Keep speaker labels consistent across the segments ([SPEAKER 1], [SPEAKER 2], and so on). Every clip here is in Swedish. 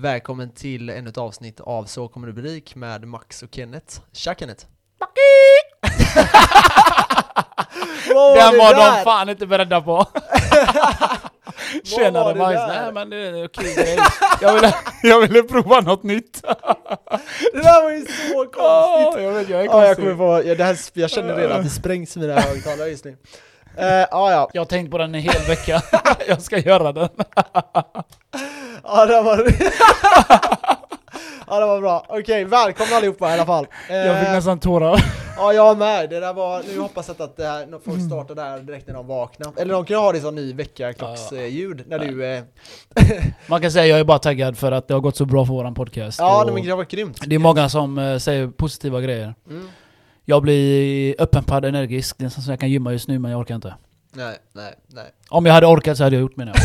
[SPEAKER 1] Välkommen till ännu ett avsnitt av Så kommer du bli rik med Max och Kenneth. Tja Kenneth! Vad
[SPEAKER 2] Den var
[SPEAKER 1] där?
[SPEAKER 2] de fan inte beredda på!
[SPEAKER 1] var
[SPEAKER 2] Tjenare
[SPEAKER 1] det
[SPEAKER 2] Majs,
[SPEAKER 1] där?
[SPEAKER 2] nej men det är okej grej. jag, ville, jag ville prova något nytt.
[SPEAKER 1] Det där var ju så konstigt!
[SPEAKER 2] Åh, jag vet, jag är
[SPEAKER 1] Ja, jag,
[SPEAKER 2] konstig.
[SPEAKER 1] kommer
[SPEAKER 2] jag,
[SPEAKER 1] på, ja, det här, jag känner redan att det sprängs i mina högtalare just nu. Uh, ja, ja.
[SPEAKER 2] har tänkt på den en hel vecka. jag ska göra den.
[SPEAKER 1] Ja, det var... ja, det var bra. Okej, välkomna allihopa i alla fall. Eh,
[SPEAKER 2] Jag fick nästan tårar.
[SPEAKER 1] Ja, jag med. Det där var... Nu hoppas jag att det här, när folk startar där direkt när de vaknar. Eller de kan ju ha det som ny väckarklocksljud när du... Eh...
[SPEAKER 2] Man kan säga jag är bara taggad för att det har gått så bra för våran podcast.
[SPEAKER 1] Ja,
[SPEAKER 2] och
[SPEAKER 1] nej, men det var grymt.
[SPEAKER 2] det är många som eh, säger positiva grejer.
[SPEAKER 1] Mm.
[SPEAKER 2] Jag blir öppenpadd, energisk, det är som jag kan gymma just nu men jag orkar inte.
[SPEAKER 1] Nej, nej, nej.
[SPEAKER 2] Om jag hade orkat så hade jag gjort menar jag.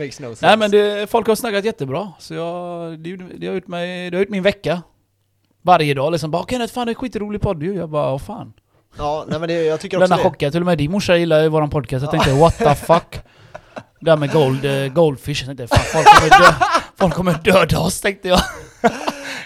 [SPEAKER 1] Makes no sense.
[SPEAKER 2] Nej men det, folk har snackat jättebra, så jag, det, gjorde- det, har gjort mig, det har gjort min vecka. Varje dag liksom bara 'Kenneth, fan det är en skitrolig podd ju' Jag bara 'Åh fan'
[SPEAKER 1] Ja, nej men det, jag tycker också
[SPEAKER 2] Denna
[SPEAKER 1] det.
[SPEAKER 2] chockad, till och med din morsa gillar ju våran podcast, jag tänkte 'What the fuck' Det här med gold, eh, goldfish, jag tänkte fan folk kommer, dö, folk kommer döda oss tänkte jag.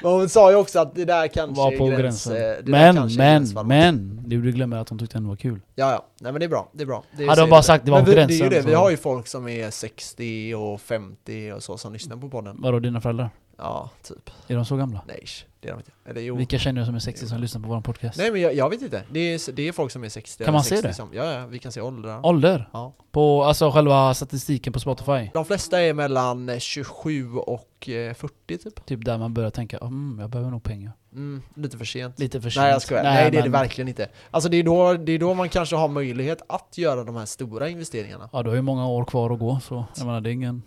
[SPEAKER 1] Men hon sa ju också att det där kanske
[SPEAKER 2] Var på
[SPEAKER 1] är gräns,
[SPEAKER 2] gränsen.
[SPEAKER 1] eh, det där
[SPEAKER 2] Men,
[SPEAKER 1] kanske är
[SPEAKER 2] men,
[SPEAKER 1] gränsfall.
[SPEAKER 2] men. Du, du glömmer att hon tyckte den var kul.
[SPEAKER 1] Ja, ja. Nej men det är bra. Det är bra. Det är
[SPEAKER 2] Hade de
[SPEAKER 1] säkert
[SPEAKER 2] bara sagt det var
[SPEAKER 1] Men
[SPEAKER 2] på
[SPEAKER 1] vi-
[SPEAKER 2] gränsen
[SPEAKER 1] Det är ju det. Vi
[SPEAKER 2] så-
[SPEAKER 1] har ju folk som är 60 och 50 och så som lyssnar på podden.
[SPEAKER 2] Vadå dina föräldrar?
[SPEAKER 1] Ja, typ.
[SPEAKER 2] Är de så gamla?
[SPEAKER 1] Nej, ish. det är de inte. Eller jo.
[SPEAKER 2] Vilka känner du som är 60 som lyssnar på våran podcast?
[SPEAKER 1] Nej men jag, jag vet inte. Det är, det är folk som är 60
[SPEAKER 2] Kan
[SPEAKER 1] eller
[SPEAKER 2] man se
[SPEAKER 1] 60
[SPEAKER 2] det?
[SPEAKER 1] Som, ja, ja, vi kan se åldrar.
[SPEAKER 2] Ålder?
[SPEAKER 1] Ja.
[SPEAKER 2] På, alltså själva statistiken på Spotify?
[SPEAKER 1] De flesta är mellan eh, 27 och eh, 40 typ.
[SPEAKER 2] Typ där man börjar tänka, mm, jag behöver nog pengar.
[SPEAKER 1] Mm, lite för sent.
[SPEAKER 2] Lite för sent.
[SPEAKER 1] Nej jag skojar, nej, det är det
[SPEAKER 2] men-
[SPEAKER 1] verkligen inte. Alltså det är, då, det är då man kanske har möjlighet att göra de här stora investeringarna.
[SPEAKER 2] Ja, du har ju många år kvar att gå, så jag menar det är ingen...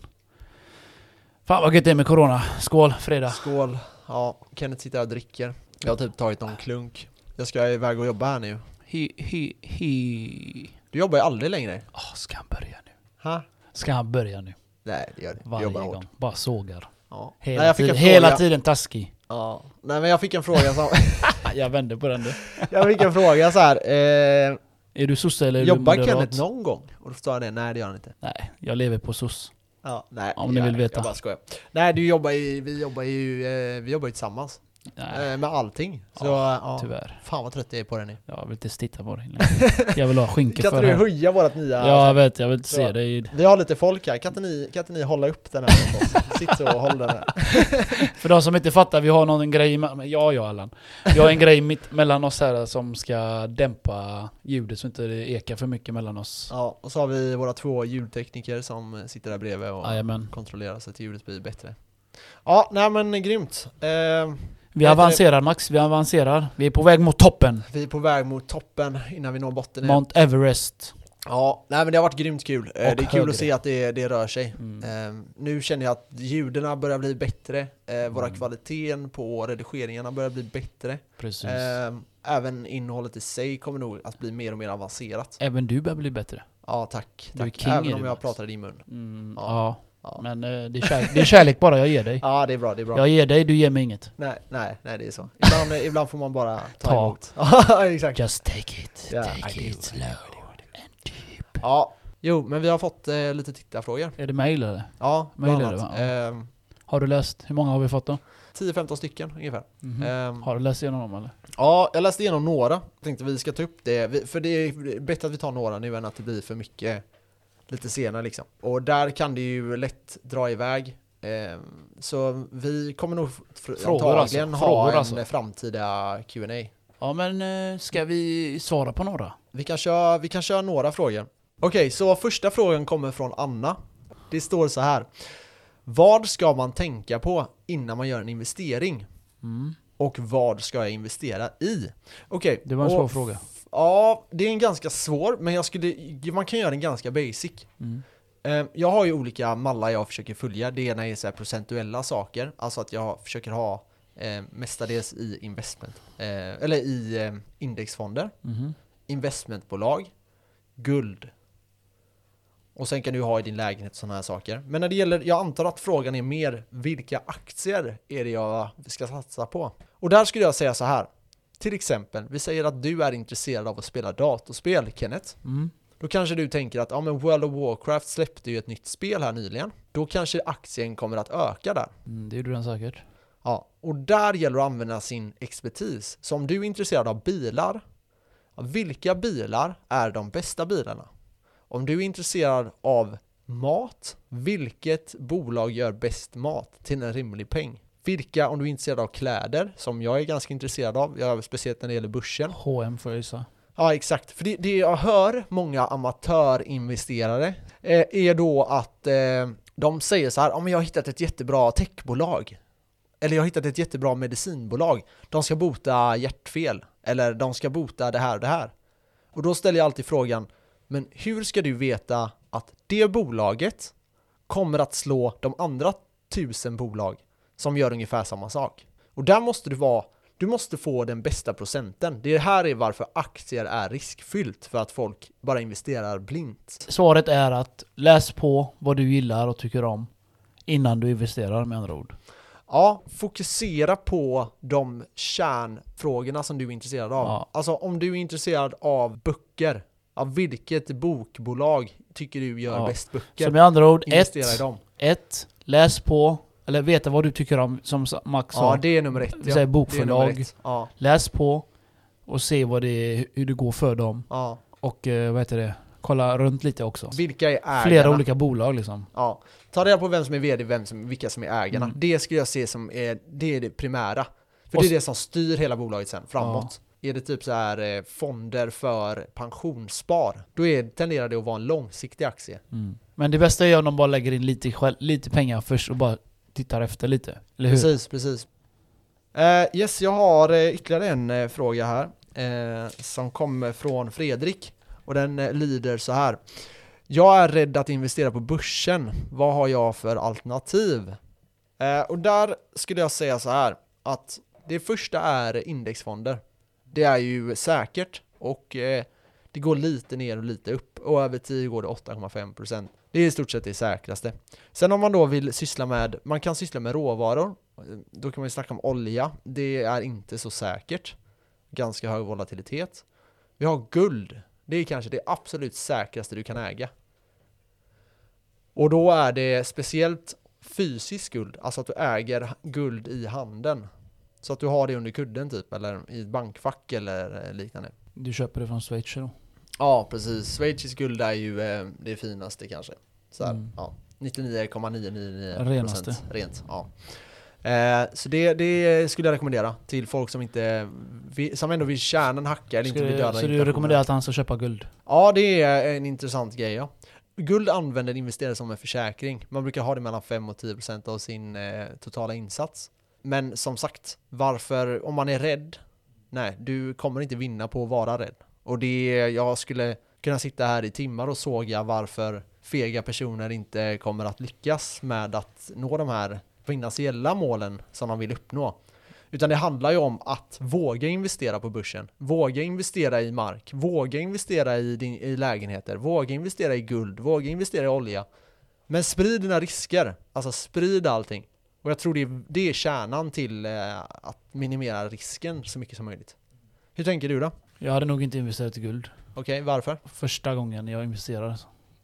[SPEAKER 2] Fan vad gött det är med Corona. Skål, fredag.
[SPEAKER 1] Skål! Ja, Kenneth sitter här och dricker. Jag har typ tagit någon klunk. Jag ska iväg och jobba här nu.
[SPEAKER 2] Hi, hi, hi.
[SPEAKER 1] Du jobbar ju aldrig längre.
[SPEAKER 2] Åh, ska han börja nu?
[SPEAKER 1] Ha?
[SPEAKER 2] Ska han börja nu?
[SPEAKER 1] Nej, det gör du. Du
[SPEAKER 2] Varje
[SPEAKER 1] jobbar
[SPEAKER 2] gång.
[SPEAKER 1] hårt.
[SPEAKER 2] Bara sågar.
[SPEAKER 1] Ja.
[SPEAKER 2] Hela,
[SPEAKER 1] Nej, jag fick
[SPEAKER 2] tiden,
[SPEAKER 1] en
[SPEAKER 2] hela
[SPEAKER 1] fråga.
[SPEAKER 2] tiden taskig.
[SPEAKER 1] Ja. Nej, men jag fick en fråga som...
[SPEAKER 2] Ah, Jag vände på den du.
[SPEAKER 1] jag fick en fråga så här. Eh,
[SPEAKER 2] Är du sosse eller är du
[SPEAKER 1] jobbar
[SPEAKER 2] moderat?
[SPEAKER 1] Kenneth någon gång? Och då sa jag det, nej det gör han inte.
[SPEAKER 2] Nej, jag lever på soss.
[SPEAKER 1] Ja, nej,
[SPEAKER 2] Om ni
[SPEAKER 1] jag-
[SPEAKER 2] vill veta.
[SPEAKER 1] Jag bara skojar. Nej, du jobbar ju, vi jobbar ju, eh, vi jobbar ju tillsammans.
[SPEAKER 2] Nej,
[SPEAKER 1] Eh, med allting. Så, ja.
[SPEAKER 2] tyvärr.
[SPEAKER 1] Fan vad trött jag är på det nu.
[SPEAKER 2] Jag vill inte titta på dig längre. Jag vill ha skinka
[SPEAKER 1] Kan
[SPEAKER 2] för
[SPEAKER 1] inte du
[SPEAKER 2] det. här.
[SPEAKER 1] höja vårat nya...
[SPEAKER 2] Ja, jag vet. Jag vill inte
[SPEAKER 1] Ja.
[SPEAKER 2] se dig. i-
[SPEAKER 1] Vi har lite folk här, kan inte ni, kan inte ni hålla upp den här åt oss? Sitt så och håll den här.
[SPEAKER 2] För de som inte fattar, vi har någon grej, me- men ja ja Allan. Vi har en grej mitt mellan oss här som ska dämpa ljudet så inte det ekar för mycket mellan oss.
[SPEAKER 1] Ja, och så har vi våra två ljudtekniker som sitter där bredvid och
[SPEAKER 2] Jajamän.
[SPEAKER 1] kontrollerar så att ljudet blir bättre. Ja, nej men grymt. Eh,
[SPEAKER 2] Vi avancerar Max, vi avancerar. Vi är på väg mot toppen.
[SPEAKER 1] vi är på väg mot toppen innan vi når botten. igen.
[SPEAKER 2] Mount Everest.
[SPEAKER 1] Ja, nej men det har varit grymt kul. Eh, det är
[SPEAKER 2] Och
[SPEAKER 1] kul
[SPEAKER 2] högre.
[SPEAKER 1] att se att det, det rör sig.
[SPEAKER 2] Mm.
[SPEAKER 1] Eh, nu känner jag att ljuderna börjar bli bättre. Eh, våra
[SPEAKER 2] Mm.
[SPEAKER 1] kvaliteten på redigeringarna börjar bli bättre.
[SPEAKER 2] Precis.
[SPEAKER 1] Eh, även innehållet i sig kommer nog att bli mer och mer avancerat.
[SPEAKER 2] Även du börjar bli bättre.
[SPEAKER 1] Ja, tack.
[SPEAKER 2] Du är
[SPEAKER 1] tack.
[SPEAKER 2] king, är
[SPEAKER 1] Även om
[SPEAKER 2] du,
[SPEAKER 1] jag
[SPEAKER 2] Mats.
[SPEAKER 1] pratar i din mun.
[SPEAKER 2] Mm,
[SPEAKER 1] Ja.
[SPEAKER 2] ja.
[SPEAKER 1] Ja.
[SPEAKER 2] Men eh, det är, kärlek, det är kärlek bara jag ger dig.
[SPEAKER 1] Ja, det är bra, det är bra.
[SPEAKER 2] Jag ger dig, du ger mig inget.
[SPEAKER 1] Nej, nej, nej det är så. Ibland, ibland får man bara ta,
[SPEAKER 2] Ta.
[SPEAKER 1] emot. Ja, exakt.
[SPEAKER 2] Just take it,
[SPEAKER 1] Ja, I
[SPEAKER 2] take
[SPEAKER 1] do, I
[SPEAKER 2] it
[SPEAKER 1] do,
[SPEAKER 2] slow and deep.
[SPEAKER 1] Ja. Jo, men vi har fått eh, lite tittarfrågor.
[SPEAKER 2] Är det mail eller?
[SPEAKER 1] Ja, bland
[SPEAKER 2] Möjligt,
[SPEAKER 1] annat.
[SPEAKER 2] va?
[SPEAKER 1] Ehm,
[SPEAKER 2] Har du läst? Hur många har vi fått då?
[SPEAKER 1] 10-15 stycken ungefär.
[SPEAKER 2] Mhm.
[SPEAKER 1] Ehm,
[SPEAKER 2] Har du läst igenom dem eller?
[SPEAKER 1] ja, jag läste igenom några. Tänkte vi ska ta upp det. Vi, för det är bättre att vi tar några nu än att det blir för mycket lite senare liksom. Och där kan det ju lätt dra iväg. Ehm, så vi kommer nog fr-
[SPEAKER 2] Frågor
[SPEAKER 1] antagligen
[SPEAKER 2] alltså,
[SPEAKER 1] ha
[SPEAKER 2] frågor
[SPEAKER 1] en
[SPEAKER 2] alltså.
[SPEAKER 1] framtida Q&A
[SPEAKER 2] Ja men eh, ska vi svara på några?
[SPEAKER 1] Vi kan köra, vi kan köra några frågor. Okej, så första frågan kommer från Anna. Det står så här. Vad ska man tänka på innan man gör en investering?
[SPEAKER 2] Mm.
[SPEAKER 1] Och vad ska jag investera i? Okej.
[SPEAKER 2] Det var en
[SPEAKER 1] och-
[SPEAKER 2] svår fråga.
[SPEAKER 1] Ja, det är en ganska svår, men jag skulle, man kan göra den ganska basic.
[SPEAKER 2] Mm.
[SPEAKER 1] Eh, Jag har ju olika mallar jag försöker följa. Det ena är så här procentuella saker, alltså att jag försöker ha eh, mestadels i investment, eh, eller i eh, indexfonder
[SPEAKER 2] Mhm.
[SPEAKER 1] investmentbolag, guld. Och sen kan du ha i din lägenhet sådana här saker. Men när det gäller, jag antar att frågan är mer vilka aktier är det jag ska satsa på? Och där skulle jag säga så här. Till exempel, vi säger att du är intresserad av att spela datorspel, Kenneth.
[SPEAKER 2] Mm.
[SPEAKER 1] Då Då kanske du tänker att ja, men World of Warcraft släppte ju ett nytt spel här nyligen. Då kanske aktien kommer att öka där.
[SPEAKER 2] Mm, det gjorde den säkert.
[SPEAKER 1] Ja, och där gäller det att använda sin expertis. Så om du är intresserad av bilar, ja, vilka bilar är de bästa bilarna? Om du är intresserad av mat, vilket bolag gör bäst mat till en rimlig peng? Vilka, om du är intresserad av kläder, som jag är ganska intresserad av, jag, speciellt när det gäller börsen.
[SPEAKER 2] H&M får jag gissa.
[SPEAKER 1] Ja, exakt. För det, det jag hör många amatörinvesterare eh, är då att eh, de säger så här, ja men jag har hittat ett jättebra techbolag. Eller jag har hittat ett jättebra medicinbolag. De ska bota hjärtfel. Eller de ska bota det här och det här. Och då ställer jag alltid frågan, men hur ska du veta att det bolaget kommer att slå de andra tusen bolag som gör ungefär samma sak? Och där måste du vara du måste få den bästa procenten. Det här är varför aktier är riskfyllt, för att folk bara investerar blint.
[SPEAKER 2] Svaret är att läs på vad du gillar och tycker om innan du investerar med andra ord.
[SPEAKER 1] Ja, fokusera på de kärnfrågorna som du är intresserad av.
[SPEAKER 2] Ja.
[SPEAKER 1] Alltså om du är intresserad av böcker, av vilket bokbolag tycker du gör
[SPEAKER 2] Ja.
[SPEAKER 1] bäst böcker?
[SPEAKER 2] Så med andra ord, ett,
[SPEAKER 1] Investera i dem.
[SPEAKER 2] ett, läs på, eller veta vad du tycker om, som s- Max sa.
[SPEAKER 1] Ja, det är nummer ett.
[SPEAKER 2] vi
[SPEAKER 1] Ja.
[SPEAKER 2] säger
[SPEAKER 1] Det är nummer
[SPEAKER 2] bokförlag.
[SPEAKER 1] ett. Ja,
[SPEAKER 2] Läs på och se vad det är, hur det går för dem.
[SPEAKER 1] ja.
[SPEAKER 2] Och eh, vad heter det? Kolla runt lite också.
[SPEAKER 1] Vilka är ägarna?
[SPEAKER 2] Flera olika bolag liksom.
[SPEAKER 1] Ja, ta reda på vem som är vd, vem som, vilka som är ägarna.
[SPEAKER 2] Mm.
[SPEAKER 1] Det skulle jag se som är det, är det primära. För
[SPEAKER 2] Och
[SPEAKER 1] det är
[SPEAKER 2] s-
[SPEAKER 1] det som styr hela bolaget sen framåt. Är det typ så här eh, fonder för pensionsspar, då är, tenderar det att vara en långsiktig aktie.
[SPEAKER 2] Mm. Men det bästa är om de bara lägger in lite, själ- lite pengar först och bara tittar efter lite. Eller hur?
[SPEAKER 1] Precis, precis. Eh, yes, jag har eh, ytterligare en eh, fråga här eh, som kommer från Fredrik och den eh, lyder så här. Jag är rädd att investera på börsen. Vad har jag för alternativ? Eh, och där skulle jag säga så här att det första är indexfonder. Det är ju säkert och eh, det går lite ner och lite upp och över 10 går det 8,5%. Det är i stort sett det säkraste. Sen om man då vill syssla med, man kan syssla med råvaror, då kan man ju snacka om olja, det är inte så säkert, ganska hög volatilitet. Vi har guld, det är kanske det absolut säkraste du kan äga. Och då är det speciellt fysiskt guld, alltså att du äger guld i handen. Så att du har det under kudden typ, eller i ett bankfack eller eh, liknande.
[SPEAKER 2] Du köper det från Schweiz då?
[SPEAKER 1] Ja, precis. Schweiziskt guld är ju eh, det finaste kanske. Så här,
[SPEAKER 2] Mm.
[SPEAKER 1] ja. 99,999
[SPEAKER 2] Renaste.
[SPEAKER 1] procent rent. Ja. Eh, så det, det skulle jag rekommendera till folk som inte vi- som ändå vill kärnan hacka eller
[SPEAKER 2] Ska
[SPEAKER 1] inte vill döda
[SPEAKER 2] du, så du
[SPEAKER 1] inflationen.
[SPEAKER 2] rekommenderar att han ska köpa guld?
[SPEAKER 1] Ja, det är en intressant grej. Ja. Guld använder investerare som en försäkring. Man brukar ha det mellan 5 och 10 procent av sin eh, totala insats. Men som sagt, varför, om man är rädd, nej, du kommer inte vinna på att vara rädd. Och det, jag skulle kunna sitta här i timmar och såga varför fega personer inte kommer att lyckas med att nå de här finansiella målen som de vill uppnå. Utan det handlar ju om att våga investera på börsen, våga investera i mark, våga investera i, din, i lägenheter, våga investera i guld, våga investera i olja. Men sprid dina risker, alltså sprid allting. Och jag tror det är, det är kärnan till eh, att minimera risken så mycket som möjligt. Hur tänker du då?
[SPEAKER 2] Jag hade nog inte investerat i guld.
[SPEAKER 1] Okej, varför?
[SPEAKER 2] Första gången jag investerade.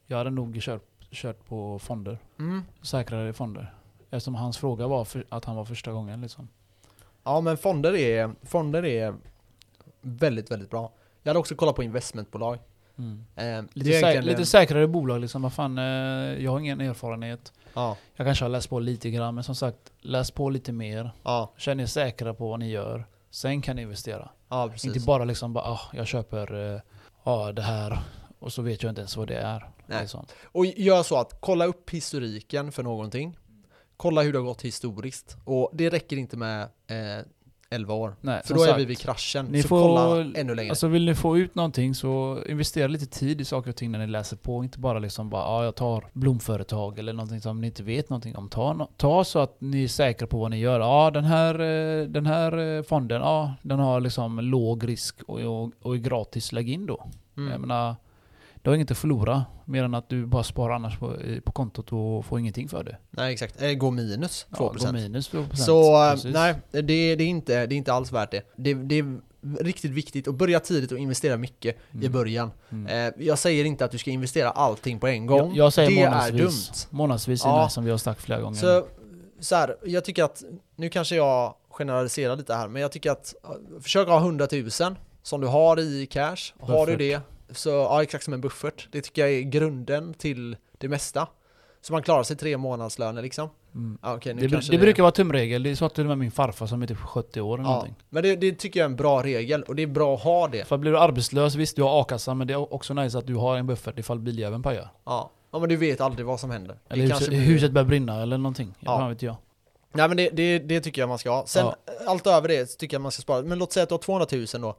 [SPEAKER 2] Jag hade nog kört, kört på fonder.
[SPEAKER 1] Mm.
[SPEAKER 2] Säkrare fonder. Eftersom hans fråga var för, att han var första gången liksom.
[SPEAKER 1] Ja men fonder är, fonder är väldigt, väldigt bra. Jag hade också kollat på investmentbolag.
[SPEAKER 2] Mm.
[SPEAKER 1] Eh, det är
[SPEAKER 2] Lite, sä-
[SPEAKER 1] egentligen-
[SPEAKER 2] lite säkrare bolag liksom. Vad fan, eh, jag har ingen erfarenhet.
[SPEAKER 1] ja,
[SPEAKER 2] Jag kanske har läst på lite grann, men som sagt, läs på lite mer.
[SPEAKER 1] ja,
[SPEAKER 2] Känn er säkra på vad ni gör. Sen kan ni investera.
[SPEAKER 1] ja, precis.
[SPEAKER 2] Inte bara liksom bara, ah, jag köper eh, ah, det här och så vet jag inte ens vad det är.
[SPEAKER 1] Nej.
[SPEAKER 2] Liksom.
[SPEAKER 1] Och gör så att kolla upp historiken för någonting. Kolla hur det har gått historiskt. Och det räcker inte med eh, 11 år.
[SPEAKER 2] Nej,
[SPEAKER 1] För
[SPEAKER 2] som
[SPEAKER 1] då är
[SPEAKER 2] sagt,
[SPEAKER 1] vi vid kraschen.
[SPEAKER 2] ni
[SPEAKER 1] så
[SPEAKER 2] får-
[SPEAKER 1] kolla ännu längre.
[SPEAKER 2] Alltså vill ni få ut någonting så investera lite tid i saker och ting när ni läser på. Inte bara liksom bara, ah, jag tar blomföretag eller någonting som ni inte vet någonting om. Ta, nå- ta så att ni är säkra på vad ni gör. Ja, ah, den här, eh, den här eh, fonden, ah, den har liksom låg risk och, och, och är gratis. Lägg in då. Jag
[SPEAKER 1] mm.
[SPEAKER 2] menar, du har inget att förlora mer än att du bara sparar annars på, i- på kontot och får ingenting för det.
[SPEAKER 1] Nej exakt, eh, gå minus 2%.
[SPEAKER 2] Ja, gå minus 2%.
[SPEAKER 1] Så eh,
[SPEAKER 2] Precis.
[SPEAKER 1] nej, det, det, är inte, det är inte alls värt det. det. Det riktigt viktigt att börja tidigt och investera mycket i
[SPEAKER 2] Mm.
[SPEAKER 1] början.
[SPEAKER 2] Mm.
[SPEAKER 1] Eh, jag säger inte att du ska investera allting på en gång.
[SPEAKER 2] Jag, jag säger
[SPEAKER 1] det är
[SPEAKER 2] månadsvis.
[SPEAKER 1] dumt.
[SPEAKER 2] Månadsvis
[SPEAKER 1] Ja.
[SPEAKER 2] innan som vi har sagt flera gånger.
[SPEAKER 1] Så, så här, jag tycker att, nu kanske jag generaliserar lite här, men jag tycker att eh, försök ha 100 000 som du har i cash. Har du
[SPEAKER 2] Buffert.
[SPEAKER 1] det, så ja, exakt som en buffert. Det tycker jag är grunden till det mesta. Så man klarar sig tre månadslöner liksom.
[SPEAKER 2] mm.
[SPEAKER 1] Ja, okej, nu
[SPEAKER 2] det, bru-
[SPEAKER 1] kanske
[SPEAKER 2] det brukar vara tumregel. Det sa till och med min farfar som är typ 70 år eller
[SPEAKER 1] ja,
[SPEAKER 2] någonting.
[SPEAKER 1] Men det, det tycker jag är en bra regel och det är bra att ha det.
[SPEAKER 2] För blir du arbetslös, visst du har a-kassa men det är också nice att du har en buffert ifall biljäveln pajar.
[SPEAKER 1] Ja. ja, men du vet aldrig vad som händer. Det
[SPEAKER 2] Eller huset,
[SPEAKER 1] kanske blir-
[SPEAKER 2] huset börjar brinna eller någonting.
[SPEAKER 1] Ja.
[SPEAKER 2] Ja. Fan vet jag.
[SPEAKER 1] Nej men det, det, det tycker jag man ska ha. Sen eh, allt över det så tycker jag man ska spara. Men låt säga att du har 200 000 då.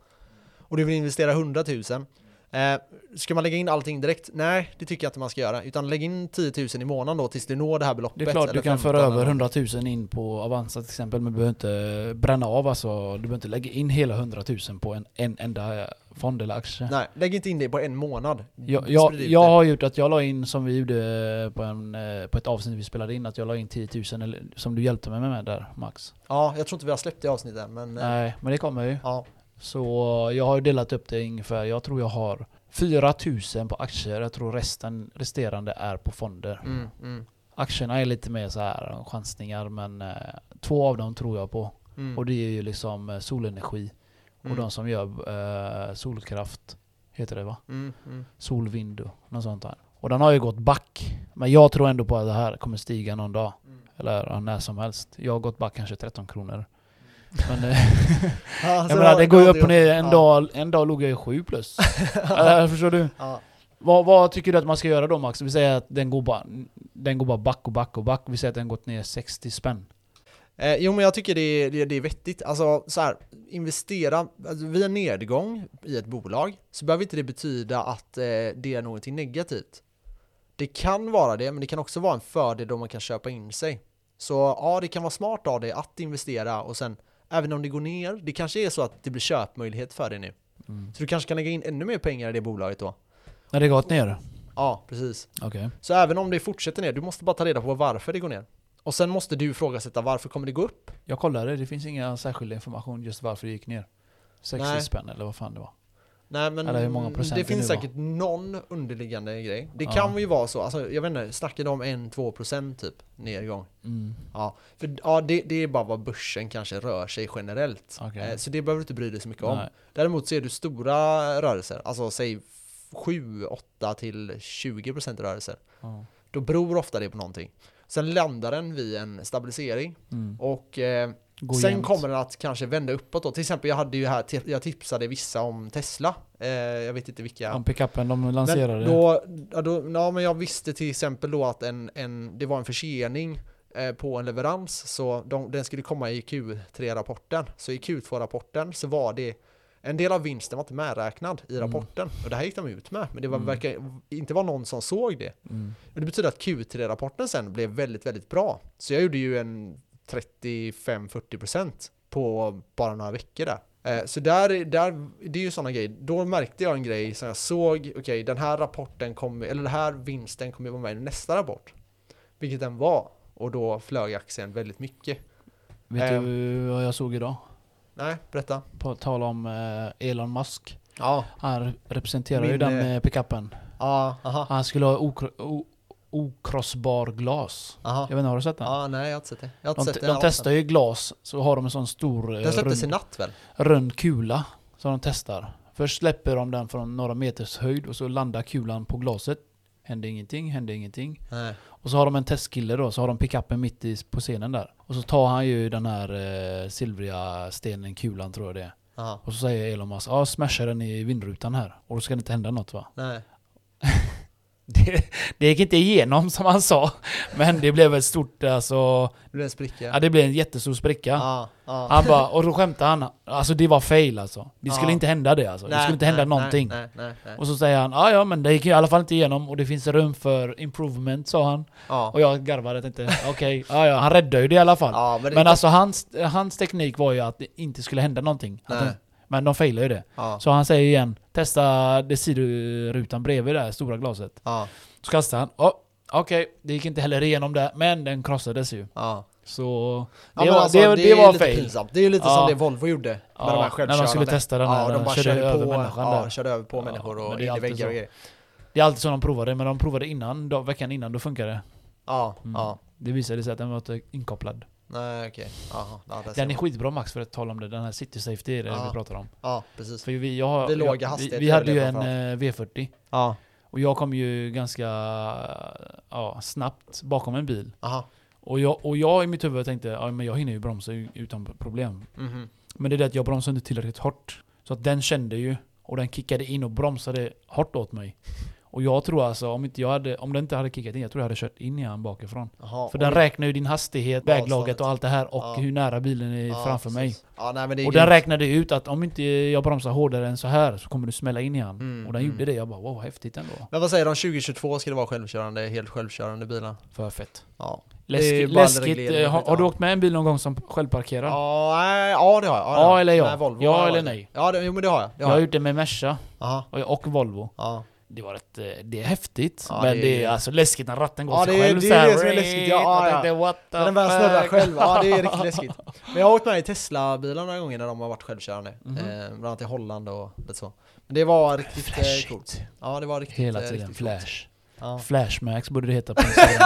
[SPEAKER 1] Och du vill investera 100 000. Eh, ska man lägga in allting direkt? Nej, det tycker jag inte man ska göra. Utan lägg in 10 000 i månaden då tills du når det här beloppet.
[SPEAKER 2] Det är klart
[SPEAKER 1] eller
[SPEAKER 2] du kan
[SPEAKER 1] 15
[SPEAKER 2] föra över
[SPEAKER 1] eller-
[SPEAKER 2] 100 000 in på Avanza till exempel men du behöver inte bränna av alltså. Du behöver inte lägga in hela 100 000 på en, en enda fond eller aktie.
[SPEAKER 1] Nej, lägg inte in det på en månad.
[SPEAKER 2] Jag, jag,
[SPEAKER 1] Sprid ut
[SPEAKER 2] jag
[SPEAKER 1] det.
[SPEAKER 2] har gjort att jag la in, som vi gjorde på, en, eh, på ett avsnitt vi spelade in, att jag la in 10 000 eller, som du hjälpte mig med där Max.
[SPEAKER 1] Ja, jag tror inte vi har släppt det avsnittet än men...
[SPEAKER 2] Nej.
[SPEAKER 1] eh,
[SPEAKER 2] men det kommer ju.
[SPEAKER 1] Ja,
[SPEAKER 2] Så jag har ju delat upp det ungefär, jag tror jag har 4 000 på aktier, jag tror resten, resterande är på fonder.
[SPEAKER 1] mm, mm,
[SPEAKER 2] Aktierna är lite mer så här chansningar men eh, två av dem tror jag på.
[SPEAKER 1] mm,
[SPEAKER 2] Och det är ju liksom eh, solenergi.
[SPEAKER 1] Mm.
[SPEAKER 2] Och de som gör eh, solkraft, heter det va?
[SPEAKER 1] mm, mm.
[SPEAKER 2] Solvind och något sånt där. Och den har ju gått back. Men jag tror ändå på att det här kommer stiga någon dag.
[SPEAKER 1] mm.
[SPEAKER 2] Eller ja, när som helst. Jag har gått back kanske 13 kronor. Men eh,
[SPEAKER 1] Ja, så
[SPEAKER 2] jag menar,
[SPEAKER 1] har-
[SPEAKER 2] Alltså, det går ju
[SPEAKER 1] har
[SPEAKER 2] upp och
[SPEAKER 1] du gjort.
[SPEAKER 2] ner. En,
[SPEAKER 1] Ja.
[SPEAKER 2] dag, en dag låg jag i 7 plus. Eller, förstår du?
[SPEAKER 1] Ja.
[SPEAKER 2] Vad, vad tycker du att man ska göra då Max? Vi säger att den går bara, den går bara back och back och back. Vi säger att den gått ner 60 spänn.
[SPEAKER 1] Eh, jo men jag tycker det är, det, det är vettigt. Alltså så här, investera, alltså, vid en nedgång i ett bolag så behöver inte det betyda att eh, det är någonting negativt. Det kan vara det, men det kan också vara en fördel då man kan köpa in sig. Så ja, det kan vara smart av dig att investera och sen även om det går ner, det kanske är så att det blir köpmöjlighet för dig nu. Så du kanske kan lägga in ännu mer pengar i det bolaget då.
[SPEAKER 2] När det gått ner?
[SPEAKER 1] Ja, precis.
[SPEAKER 2] Okej.
[SPEAKER 1] Så även om det fortsätter ner, du måste bara ta reda på varför det går ner. Och sen måste du ifrågasätta varför kommer det gå upp?
[SPEAKER 2] Jag kollade, det finns inga särskilda information just varför det gick ner. 60
[SPEAKER 1] Nej.
[SPEAKER 2] spänn eller vad fan det var.
[SPEAKER 1] Nej men
[SPEAKER 2] Eller hur många procent
[SPEAKER 1] det
[SPEAKER 2] det
[SPEAKER 1] finns
[SPEAKER 2] nu var.
[SPEAKER 1] säkert någon underliggande grej. Det
[SPEAKER 2] Ja.
[SPEAKER 1] kan ju vara så, alltså, jag vet inte, snackar de om 1-2% typ nedgång?
[SPEAKER 2] Mm.
[SPEAKER 1] Ja, för ja, det, det är bara vad börsen kanske rör sig generellt.
[SPEAKER 2] Okej.
[SPEAKER 1] Eh, Så det behöver du inte bry dig så mycket om.
[SPEAKER 2] Nej.
[SPEAKER 1] Däremot ser du stora rörelser, alltså säg 7-8 till 20% rörelser.
[SPEAKER 2] Ja.
[SPEAKER 1] Då beror ofta det på någonting. Sen landar den vid en stabilisering
[SPEAKER 2] Mm.
[SPEAKER 1] och eh,
[SPEAKER 2] Gå
[SPEAKER 1] Sen
[SPEAKER 2] jämnt.
[SPEAKER 1] kommer den att kanske vända uppåt då. Till exempel jag hade ju här, ti- jag tipsade vissa om Tesla. Eh, jag vet inte vilka.
[SPEAKER 2] Ja, pickupen de
[SPEAKER 1] men
[SPEAKER 2] lanserade.
[SPEAKER 1] då, ja, då, ja, men jag visste till exempel då att en, en, det var en försening eh, på en leverans. Så de, den skulle komma i Q3-rapporten. Så i Q2-rapporten så var det en del av vinsten var inte medräknad i
[SPEAKER 2] Mm.
[SPEAKER 1] rapporten. Och det här gick de ut med. Men det var,
[SPEAKER 2] Mm.
[SPEAKER 1] verkar inte vara någon som såg det.
[SPEAKER 2] mm.
[SPEAKER 1] Och det betyder att Q3-rapporten sen blev väldigt, väldigt bra. Så jag gjorde ju en 35-40% på bara några veckor där. Eh, Så där, där, det är ju sådana grejer. Då märkte jag en grej som jag såg, okej den här rapporten kommer, eller den här vinsten kommer vara med i nästa rapport. Vilket den var. Och då flög aktien väldigt mycket.
[SPEAKER 2] Vet
[SPEAKER 1] eh.
[SPEAKER 2] du vad jag såg idag?
[SPEAKER 1] Nej, berätta.
[SPEAKER 2] På tal om eh, Elon Musk.
[SPEAKER 1] Ja,
[SPEAKER 2] Han representerar ju
[SPEAKER 1] Min,
[SPEAKER 2] den
[SPEAKER 1] eh,
[SPEAKER 2] eh, pickupen.
[SPEAKER 1] ja, aha,
[SPEAKER 2] Han skulle ha okro- o- okrossbar glas.
[SPEAKER 1] aha.
[SPEAKER 2] Jag vet inte, har du sett den?
[SPEAKER 1] Ja, nej jag har inte sett det. Jag har
[SPEAKER 2] de
[SPEAKER 1] inte sett
[SPEAKER 2] te-
[SPEAKER 1] det.
[SPEAKER 2] de testar ju glas, så har de en sån stor eh,
[SPEAKER 1] Den
[SPEAKER 2] rund-
[SPEAKER 1] släpptes i natt väl?
[SPEAKER 2] rund kula som de testar. Först släpper de den från några meters höjd och så landar kulan på glaset. Händer ingenting, händer ingenting.
[SPEAKER 1] Nej.
[SPEAKER 2] Och så har de en testkille då, så har de pickupen mitt i, på scenen där. Och så tar han ju den här eh, silvriga stenen, kulan tror jag det är.
[SPEAKER 1] Aha,
[SPEAKER 2] Och så säger Elon Musk, ja smasha den i vindrutan här. Och då ska det inte hända något va?
[SPEAKER 1] nej.
[SPEAKER 2] Det, det gick inte igenom som han sa. Men det blev ett stort, alltså,
[SPEAKER 1] Det blev en spricka.
[SPEAKER 2] ja, det blev en jättestor spricka.
[SPEAKER 1] Ja, ja.
[SPEAKER 2] Han bara, och då skämtar han. Alltså det var fail alltså. Det skulle
[SPEAKER 1] Ja.
[SPEAKER 2] inte hända det alltså. det skulle inte hända någonting.
[SPEAKER 1] Nej, nej, nej.
[SPEAKER 2] Och så säger han, ja ja men det gick ju i alla fall inte igenom och det finns rum för improvement sa han.
[SPEAKER 1] ja.
[SPEAKER 2] Och jag garvade och tänkte, okej, ja ja han räddade ju det i alla fall.
[SPEAKER 1] ja, men, det,
[SPEAKER 2] Men alltså hans, hans teknik var ju att det inte skulle hända någonting. Att
[SPEAKER 1] Nej.
[SPEAKER 2] de, men de failade ju det.
[SPEAKER 1] ja,
[SPEAKER 2] Så han säger igen, testa det sidorutan bredvid det här stora glaset.
[SPEAKER 1] ja,
[SPEAKER 2] Så kastar han, oh, okej, det gick inte heller igenom där, men den krossades ju.
[SPEAKER 1] ja.
[SPEAKER 2] Så
[SPEAKER 1] Ja,
[SPEAKER 2] det,
[SPEAKER 1] men
[SPEAKER 2] var,
[SPEAKER 1] alltså,
[SPEAKER 2] det, det, var
[SPEAKER 1] lite
[SPEAKER 2] fail.
[SPEAKER 1] pinsamt. Det är ju lite
[SPEAKER 2] Ja.
[SPEAKER 1] som det Volvo gjorde med
[SPEAKER 2] Ja,
[SPEAKER 1] de här
[SPEAKER 2] när
[SPEAKER 1] självkörande.
[SPEAKER 2] de skulle testa den
[SPEAKER 1] ja,
[SPEAKER 2] här,
[SPEAKER 1] de bara körde,
[SPEAKER 2] körde över
[SPEAKER 1] på,
[SPEAKER 2] människan
[SPEAKER 1] ja,
[SPEAKER 2] där.
[SPEAKER 1] körde över på
[SPEAKER 2] Ja,
[SPEAKER 1] människor
[SPEAKER 2] men
[SPEAKER 1] och
[SPEAKER 2] det är
[SPEAKER 1] in i
[SPEAKER 2] alltid
[SPEAKER 1] väggar och
[SPEAKER 2] så.
[SPEAKER 1] grejer.
[SPEAKER 2] Det är alltid så de provar det, men de provade innan, då, veckan innan, då funkade det.
[SPEAKER 1] Ja,
[SPEAKER 2] Mm.
[SPEAKER 1] ja.
[SPEAKER 2] Det visade sig att den var inte inkopplad.
[SPEAKER 1] Alltså. Nej okej. Jaha, ja, där ser
[SPEAKER 2] Den är
[SPEAKER 1] man.
[SPEAKER 2] skitbra Max för att tala om det, den här City Safety är det
[SPEAKER 1] Ja.
[SPEAKER 2] vi pratar om.
[SPEAKER 1] Ja, precis.
[SPEAKER 2] För vi, jag, har-
[SPEAKER 1] Vid låga
[SPEAKER 2] jag, vi, vi
[SPEAKER 1] hastigheter
[SPEAKER 2] hade
[SPEAKER 1] är
[SPEAKER 2] ju
[SPEAKER 1] det
[SPEAKER 2] en eh,
[SPEAKER 1] framförallt.
[SPEAKER 2] V40
[SPEAKER 1] Ja,
[SPEAKER 2] och jag kom ju ganska eh, ja, snabbt bakom en bil.
[SPEAKER 1] aha.
[SPEAKER 2] Och jag, och jag i mitt huvud tänkte ja, men jag hinner ju bromsa u- utan problem.
[SPEAKER 1] Mhm.
[SPEAKER 2] Men det är det att jag bromsade inte tillräckligt hårt. Så att den kände ju och den kickade in och bromsade hårt åt mig. Och jag tror alltså om, inte jag hade, om den inte hade kickat in, jag tror jag hade kört in i han bakifrån.
[SPEAKER 1] Jaha,
[SPEAKER 2] För
[SPEAKER 1] och-
[SPEAKER 2] den räknar ju din hastighet,
[SPEAKER 1] Avståndet.
[SPEAKER 2] väglaget och allt det här och
[SPEAKER 1] Ja.
[SPEAKER 2] hur nära bilen är
[SPEAKER 1] ja,
[SPEAKER 2] framför mig.
[SPEAKER 1] precis. Ja, nej, men det är
[SPEAKER 2] Och den
[SPEAKER 1] grymt.
[SPEAKER 2] räknade ut att om inte jag bromsar hårdare än så här så kommer du smälla in i han.
[SPEAKER 1] Mm,
[SPEAKER 2] och den
[SPEAKER 1] mm.
[SPEAKER 2] gjorde det. Jag bara wow, häftigt ändå.
[SPEAKER 1] Men vad säger de? 2022 ska det vara självkörande, helt självkörande bilar.
[SPEAKER 2] För fett.
[SPEAKER 1] Ja. Det är ju
[SPEAKER 2] Läskigt.
[SPEAKER 1] bara
[SPEAKER 2] läskigt.
[SPEAKER 1] reglering och
[SPEAKER 2] Eh, Har,
[SPEAKER 1] skit,
[SPEAKER 2] har du
[SPEAKER 1] ja.
[SPEAKER 2] åkt med en bil någon gång som självparkerar?
[SPEAKER 1] Ja, nej, ja det har jag. det
[SPEAKER 2] Ja
[SPEAKER 1] har jag.
[SPEAKER 2] eller ja.
[SPEAKER 1] Nej, Volvo
[SPEAKER 2] Ja
[SPEAKER 1] har jag
[SPEAKER 2] eller
[SPEAKER 1] varit.
[SPEAKER 2] nej.
[SPEAKER 1] Ja, det, jo men det har jag. Det
[SPEAKER 2] jag
[SPEAKER 1] har
[SPEAKER 2] har
[SPEAKER 1] jag.
[SPEAKER 2] gjort det med Merca
[SPEAKER 1] Aha,
[SPEAKER 2] och, och Volvo.
[SPEAKER 1] ja.
[SPEAKER 2] Det var ett, eh, det är häftigt.
[SPEAKER 1] Ja,
[SPEAKER 2] men
[SPEAKER 1] det
[SPEAKER 2] det,
[SPEAKER 1] är-
[SPEAKER 2] är alltså läskigt när ratten går
[SPEAKER 1] Ja,
[SPEAKER 2] sig
[SPEAKER 1] det är-
[SPEAKER 2] själv
[SPEAKER 1] det är
[SPEAKER 2] så här.
[SPEAKER 1] det som är läskigt. Ja,
[SPEAKER 2] Man
[SPEAKER 1] ja,
[SPEAKER 2] tänkte, what the
[SPEAKER 1] Men den börjar snurra
[SPEAKER 2] fuck?
[SPEAKER 1] själv, ja det är riktigt läskigt. Men jag har åkt med i Tesla-bilar några gånger när de har varit självkörande.
[SPEAKER 2] Mhm.
[SPEAKER 1] Eh, bland annat i Holland och lite så. Men det var riktigt eh,
[SPEAKER 2] Flashigt.
[SPEAKER 1] coolt. Ja det var riktigt
[SPEAKER 2] Hela
[SPEAKER 1] eh,
[SPEAKER 2] tiden
[SPEAKER 1] riktigt coolt.
[SPEAKER 2] flash.
[SPEAKER 1] Ja.
[SPEAKER 2] Flashmax borde det heta på Instagram.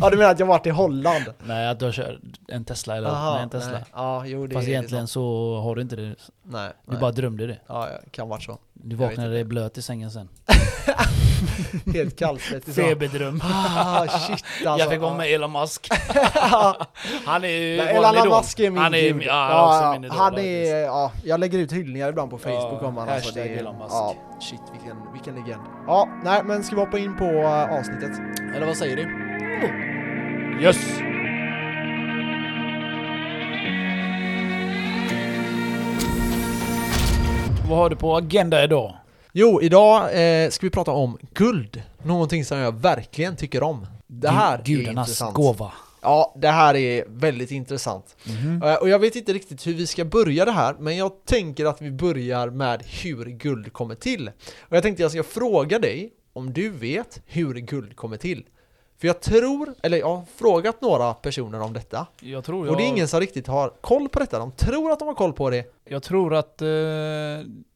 [SPEAKER 1] ja du menar att jag varit i Holland?
[SPEAKER 2] Nej, att du kör en Tesla eller nej, en Tesla.
[SPEAKER 1] nej. Ja jo det
[SPEAKER 2] Fast
[SPEAKER 1] är
[SPEAKER 2] egentligen
[SPEAKER 1] sant.
[SPEAKER 2] så har du inte det. Du
[SPEAKER 1] Nej, nej.
[SPEAKER 2] bara drömde det.
[SPEAKER 1] Ja, ja, kan varit så.
[SPEAKER 2] Du
[SPEAKER 1] vet
[SPEAKER 2] vaknade dig blöt i sängen sen.
[SPEAKER 1] Helt kallsvettig så.
[SPEAKER 2] Feberdröm.
[SPEAKER 1] Ah shit alltså. Ah,
[SPEAKER 2] jag fick vara med Elon Musk. Han är ju
[SPEAKER 1] Nej,
[SPEAKER 2] vår
[SPEAKER 1] Elon
[SPEAKER 2] idol.
[SPEAKER 1] Musk är min
[SPEAKER 2] Han är,
[SPEAKER 1] gud.
[SPEAKER 2] ja, han är också min idol.
[SPEAKER 1] han
[SPEAKER 2] faktiskt.
[SPEAKER 1] är, ja, jag lägger ut hyllningar ibland på Facebook
[SPEAKER 2] Ja,
[SPEAKER 1] om han. Alltså,
[SPEAKER 2] hashtag
[SPEAKER 1] det är-
[SPEAKER 2] Elon Musk.
[SPEAKER 1] Ja, shit vilken, vilken legend. Ja, nej men ska vi hoppa in på eh, avsnittet? Eller vad säger du?
[SPEAKER 2] Yes! Vad har du på agenda idag?
[SPEAKER 1] Jo, idag eh, ska vi prata om guld. Någonting som jag verkligen tycker om. Det här
[SPEAKER 2] Gud-
[SPEAKER 1] är
[SPEAKER 2] Gudarnas
[SPEAKER 1] intressant.
[SPEAKER 2] gåva.
[SPEAKER 1] Ja, det här är väldigt intressant.
[SPEAKER 2] Mhm.
[SPEAKER 1] Eh, Och jag vet inte riktigt hur vi ska börja det här, men jag tänker att vi börjar med hur guld kommer till. Och jag tänkte jag ska fråga dig om du vet hur guld kommer till. För jag tror, eller jag har frågat några personer om detta.
[SPEAKER 2] Jag tror,
[SPEAKER 1] Och det är ingen som riktigt har koll på detta. De tror att de har koll på det.
[SPEAKER 2] jag tror att eh,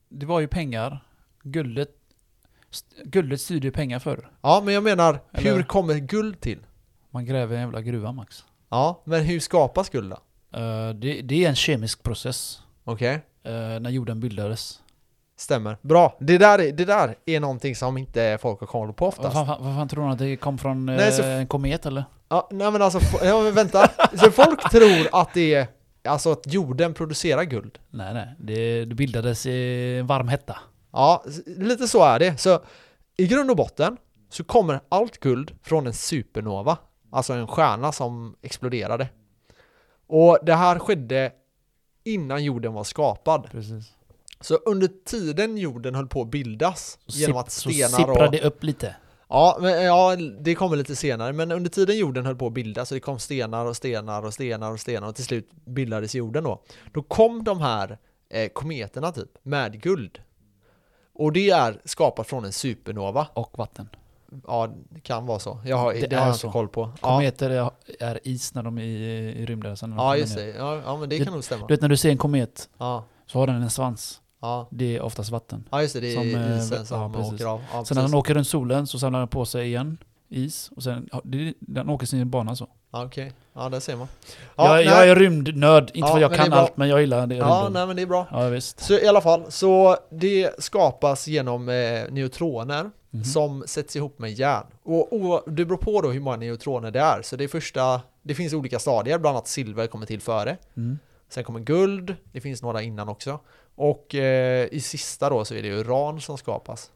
[SPEAKER 2] det var ju pengar. Guldet, st- guldet styrde ju pengar förr.
[SPEAKER 1] Ja, men jag menar, hur
[SPEAKER 2] Eller-
[SPEAKER 1] kommer guld till?
[SPEAKER 2] Man gräver en jävla gruva max.
[SPEAKER 1] Ja, men hur skapas guld då?
[SPEAKER 2] Eh, det, det är en kemisk process.
[SPEAKER 1] Okej,
[SPEAKER 2] eh, när jorden bildades.
[SPEAKER 1] stämmer. Bra. Det där, är- det där är någonting som inte folk har koll på
[SPEAKER 2] Vad
[SPEAKER 1] oftast.
[SPEAKER 2] fan, vad fan tror du att det kom från eh,
[SPEAKER 1] Nej, så f-
[SPEAKER 2] en komet eller?
[SPEAKER 1] Ja, nej men alltså, fo- ja, men vänta. Så folk tror att det är, alltså att jorden producerar guld.
[SPEAKER 2] Nej nej, det, det bildades i en varm hetta.
[SPEAKER 1] Ja, s- lite så är det. Så i grund och botten så kommer allt guld från en supernova, alltså en stjärna som exploderade. Och det här skedde innan jorden var skapad.
[SPEAKER 2] Precis.
[SPEAKER 1] Så under tiden jorden höll på att bildas genom att
[SPEAKER 2] så
[SPEAKER 1] stenar och...
[SPEAKER 2] sipprade det upp lite.
[SPEAKER 1] Ja, men, ja, det kommer lite senare, men under tiden jorden höll på att bildas, så det kom stenar och stenar och stenar och stenar och till slut bildades jorden då. Då kom de här eh, kometerna typ, med guld. Och det är skapat från en supernova.
[SPEAKER 2] Och vatten.
[SPEAKER 1] Ja, det kan vara så. Jag har, det
[SPEAKER 2] Det
[SPEAKER 1] har
[SPEAKER 2] är
[SPEAKER 1] jag inte
[SPEAKER 2] så.
[SPEAKER 1] koll på. Ja,
[SPEAKER 2] Kometer är, är is när de är i, i rymden. Sen när de
[SPEAKER 1] ja
[SPEAKER 2] kommer
[SPEAKER 1] just
[SPEAKER 2] ner.
[SPEAKER 1] det. Ja, ja men det
[SPEAKER 2] Det-
[SPEAKER 1] kan nog stämma.
[SPEAKER 2] Du vet när du ser en komet
[SPEAKER 1] Ja,
[SPEAKER 2] så har den en svans.
[SPEAKER 1] ja.
[SPEAKER 2] Det är oftast vatten.
[SPEAKER 1] ja just det, det är
[SPEAKER 2] Som, eh,
[SPEAKER 1] isen
[SPEAKER 2] ja,
[SPEAKER 1] som
[SPEAKER 2] precis.
[SPEAKER 1] åker av. Ja,
[SPEAKER 2] Sen när
[SPEAKER 1] precis.
[SPEAKER 2] den åker runt solen så samlar den på sig igen is. Och sen, ja, det- den åker sin bana så.
[SPEAKER 1] ja, okej. Ja, där ser man.
[SPEAKER 2] jag,
[SPEAKER 1] Ja,
[SPEAKER 2] jag
[SPEAKER 1] nej.
[SPEAKER 2] är rymdnörd, inte
[SPEAKER 1] Ja,
[SPEAKER 2] för att jag
[SPEAKER 1] men det är
[SPEAKER 2] kan
[SPEAKER 1] bra.
[SPEAKER 2] allt men jag gillar det.
[SPEAKER 1] Ja,
[SPEAKER 2] rymden.
[SPEAKER 1] nej men det är bra.
[SPEAKER 2] ja visst.
[SPEAKER 1] Så i alla fall, så det skapas genom eh, neutroner
[SPEAKER 2] Mhm.
[SPEAKER 1] som sätts ihop med järn. Och, o- det beror på då hur många neutroner det är. Så det första, det finns olika stadier, bland annat silver kommer till före.
[SPEAKER 2] Mm.
[SPEAKER 1] Sen kommer guld, det finns några innan också. Och eh, i sista då så är det uran som skapas.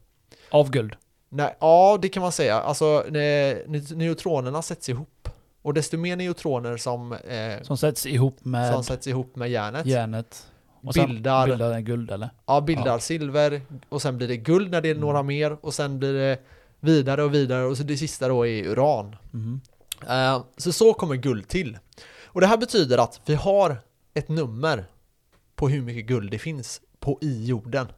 [SPEAKER 2] Av guld.
[SPEAKER 1] Nej, ja, det kan man säga. Alltså ne- ne- neutronerna sätts ihop. Och desto mer neutroner som, eh,
[SPEAKER 2] Som sätts ihop med
[SPEAKER 1] som sätts ihop med järnet
[SPEAKER 2] järnet. Och sen
[SPEAKER 1] bildar
[SPEAKER 2] bildar den guld eller?
[SPEAKER 1] Ja, bildar
[SPEAKER 2] Ja.
[SPEAKER 1] silver och sen blir det guld när det är
[SPEAKER 2] Mm.
[SPEAKER 1] några mer och sen blir det vidare och vidare och så det sista då är uran.
[SPEAKER 2] Mhm.
[SPEAKER 1] Eh, så så kommer guld till. Och det här betyder att vi har ett nummer på hur mycket guld det finns på i jorden.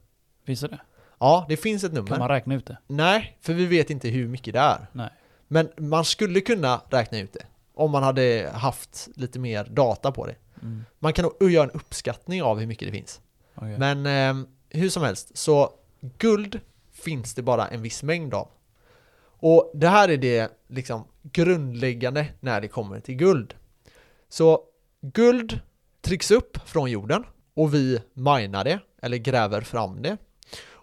[SPEAKER 2] Finns det det?
[SPEAKER 1] Ja, det finns ett
[SPEAKER 2] Kan
[SPEAKER 1] nummer.
[SPEAKER 2] man räkna ut det?
[SPEAKER 1] Nej, för vi vet inte hur mycket det är.
[SPEAKER 2] Nej.
[SPEAKER 1] Men man skulle kunna räkna ut det. Om man hade haft lite mer data på det.
[SPEAKER 2] Mm.
[SPEAKER 1] Man kan nog göra en uppskattning av hur mycket det finns.
[SPEAKER 2] okej.
[SPEAKER 1] Men eh, hur som helst, så guld finns det bara en viss mängd av. Och det här är det liksom grundläggande när det kommer till guld. Så guld trycks upp från jorden och vi minar det eller gräver fram det.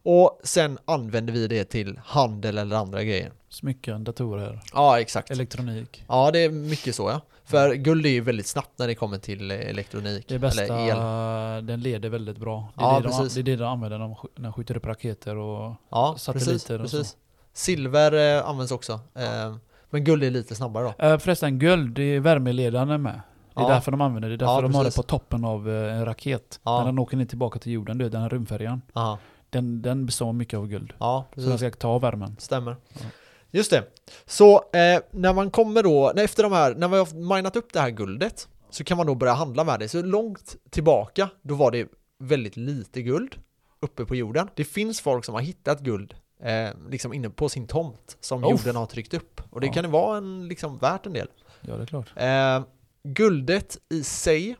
[SPEAKER 1] Och sen använder vi det till handel eller andra grejer.
[SPEAKER 2] Smycken, datorer,
[SPEAKER 1] Ja, exakt.
[SPEAKER 2] elektronik.
[SPEAKER 1] Ja, det är mycket så ja. För guld är ju väldigt snabbt när det kommer till eh, elektronik.
[SPEAKER 2] Det bästa,
[SPEAKER 1] Eller el.
[SPEAKER 2] den leder väldigt bra. Det är,
[SPEAKER 1] Ja,
[SPEAKER 2] det, de,
[SPEAKER 1] precis.
[SPEAKER 2] det är det de använder när de sk- när de skjuter upp raketer och...
[SPEAKER 1] Ja, precis.
[SPEAKER 2] satelliter och så.
[SPEAKER 1] precis. Silver eh, används också. Eh, men guld är lite snabbare då.
[SPEAKER 2] Eh, förresten, guld, det är värmeledande med. Det är
[SPEAKER 1] Ja.
[SPEAKER 2] därför de använder det. Det är därför
[SPEAKER 1] Ja,
[SPEAKER 2] de har det
[SPEAKER 1] precis.
[SPEAKER 2] på toppen av eh, en raket.
[SPEAKER 1] Ja.
[SPEAKER 2] När den åker ner tillbaka till jorden, du vet, den här rymdfärjan.
[SPEAKER 1] Aha.
[SPEAKER 2] Den, den består mycket av guld.
[SPEAKER 1] Ja,
[SPEAKER 2] Så den
[SPEAKER 1] precis.
[SPEAKER 2] ska ta värmen.
[SPEAKER 1] Stämmer.
[SPEAKER 2] Ja.
[SPEAKER 1] Just det. Så eh, när man kommer då, när efter de här, när man har minat upp det här guldet så kan man då börja handla med det. Så långt tillbaka, då var det väldigt lite guld uppe på jorden. Det finns folk som har hittat guld eh, liksom inne på sin tomt som
[SPEAKER 2] Uff.
[SPEAKER 1] jorden har tryckt upp. Och det
[SPEAKER 2] Ja.
[SPEAKER 1] kan ju vara en, liksom, värt en del.
[SPEAKER 2] Ja, det är klart.
[SPEAKER 1] Eh, guldet i sig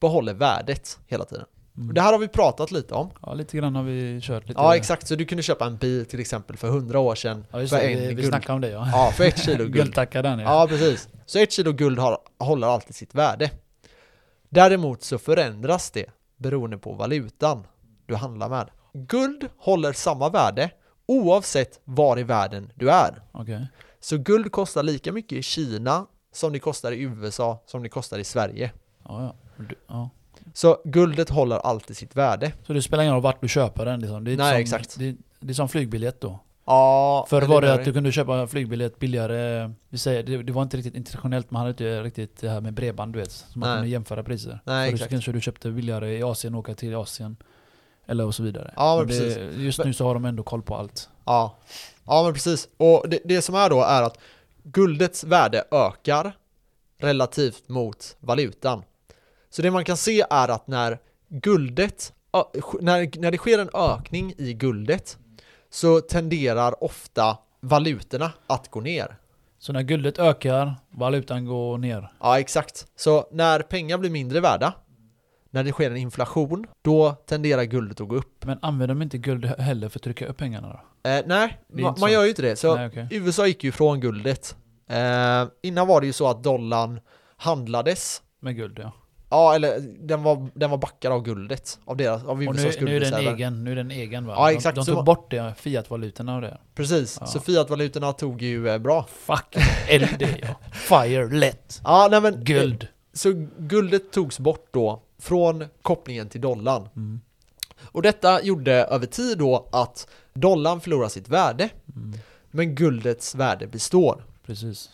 [SPEAKER 1] behåller värdet hela tiden.
[SPEAKER 2] Mm.
[SPEAKER 1] Och Det här har vi pratat lite om.
[SPEAKER 2] Ja, lite grann har vi kört lite.
[SPEAKER 1] Ja, exakt. Så du kunde köpa en bil till exempel för 100 år sedan
[SPEAKER 2] Ja, just
[SPEAKER 1] för
[SPEAKER 2] det. Vi, vi
[SPEAKER 1] guld.
[SPEAKER 2] snackade om det ja.
[SPEAKER 1] Ja, för ett kilo guld.
[SPEAKER 2] Guldtackar den ja.
[SPEAKER 1] Ja, precis. Så ett kilo guld har, håller alltid sitt värde. Däremot så förändras det beroende på valutan du handlar med. Guld håller samma värde oavsett var i världen du är.
[SPEAKER 2] Okej.
[SPEAKER 1] Så guld kostar lika mycket i Kina som det kostar i USA som det kostar i Sverige.
[SPEAKER 2] Ja, ja. Men du- ja.
[SPEAKER 1] Så guldet håller alltid sitt värde.
[SPEAKER 2] Så det spelar ingen roll vart du köper den liksom. det är
[SPEAKER 1] Nej,
[SPEAKER 2] som,
[SPEAKER 1] exakt.
[SPEAKER 2] Det, det är som flygbiljett då.
[SPEAKER 1] Ja,
[SPEAKER 2] Förr
[SPEAKER 1] men
[SPEAKER 2] var det
[SPEAKER 1] där
[SPEAKER 2] att du kunde köpa en flygbiljett billigare. eh, Vi säger, det, det var inte riktigt internationellt, man hade inte riktigt det här med bredband du vet. Så man
[SPEAKER 1] Nej.
[SPEAKER 2] kunde jämföra priser.
[SPEAKER 1] Nej,
[SPEAKER 2] Förr så
[SPEAKER 1] exakt.
[SPEAKER 2] kanske du köpte billigare i Asien och åka till Asien. Eller och så vidare.
[SPEAKER 1] Ja, men
[SPEAKER 2] det, just nu så har de ändå koll på allt.
[SPEAKER 1] Ja, ja men precis. Och det, det som är då är att guldets värde ökar relativt mot valutan. Så det man kan se är att när guldet, ö- när, när det sker en ökning i guldet så tenderar ofta valutorna att gå ner.
[SPEAKER 2] Så när guldet ökar, valutan går ner.
[SPEAKER 1] Ja, exakt. Så när pengar blir mindre värda, när det sker en inflation, då tenderar guldet att gå upp.
[SPEAKER 2] Men använder de inte guld he- heller för att trycka upp pengarna då?
[SPEAKER 1] Eh, nej,
[SPEAKER 2] Det är
[SPEAKER 1] ma-
[SPEAKER 2] inte
[SPEAKER 1] man
[SPEAKER 2] så.
[SPEAKER 1] gör ju inte det. Så
[SPEAKER 2] Nej, okej.
[SPEAKER 1] USA gick ju från guldet. Eh, innan var det ju så att dollarn handlades.
[SPEAKER 2] Med guld ja.
[SPEAKER 1] Ja, eller den var, den var backad av guldet. Av, deras, av
[SPEAKER 2] Och nu,
[SPEAKER 1] USAs
[SPEAKER 2] nu är den
[SPEAKER 1] guldreserver.
[SPEAKER 2] egen, nu är den egen va?
[SPEAKER 1] Ja,
[SPEAKER 2] De-
[SPEAKER 1] exakt,
[SPEAKER 2] De,
[SPEAKER 1] så
[SPEAKER 2] tog
[SPEAKER 1] var-
[SPEAKER 2] bort det, fiat-valutorna och det.
[SPEAKER 1] Precis,
[SPEAKER 2] Ja.
[SPEAKER 1] så fiatvalutorna tog ju eh, bra.
[SPEAKER 2] Fuck, LD ja. Fire, lätt,
[SPEAKER 1] Ja, nej men. eh,
[SPEAKER 2] guld.
[SPEAKER 1] Så guldet togs bort då från kopplingen till dollarn.
[SPEAKER 2] Mm,
[SPEAKER 1] Och detta gjorde över tid då att dollarn förlorar sitt värde.
[SPEAKER 2] Mm.
[SPEAKER 1] Men guldets värde består.
[SPEAKER 2] Precis.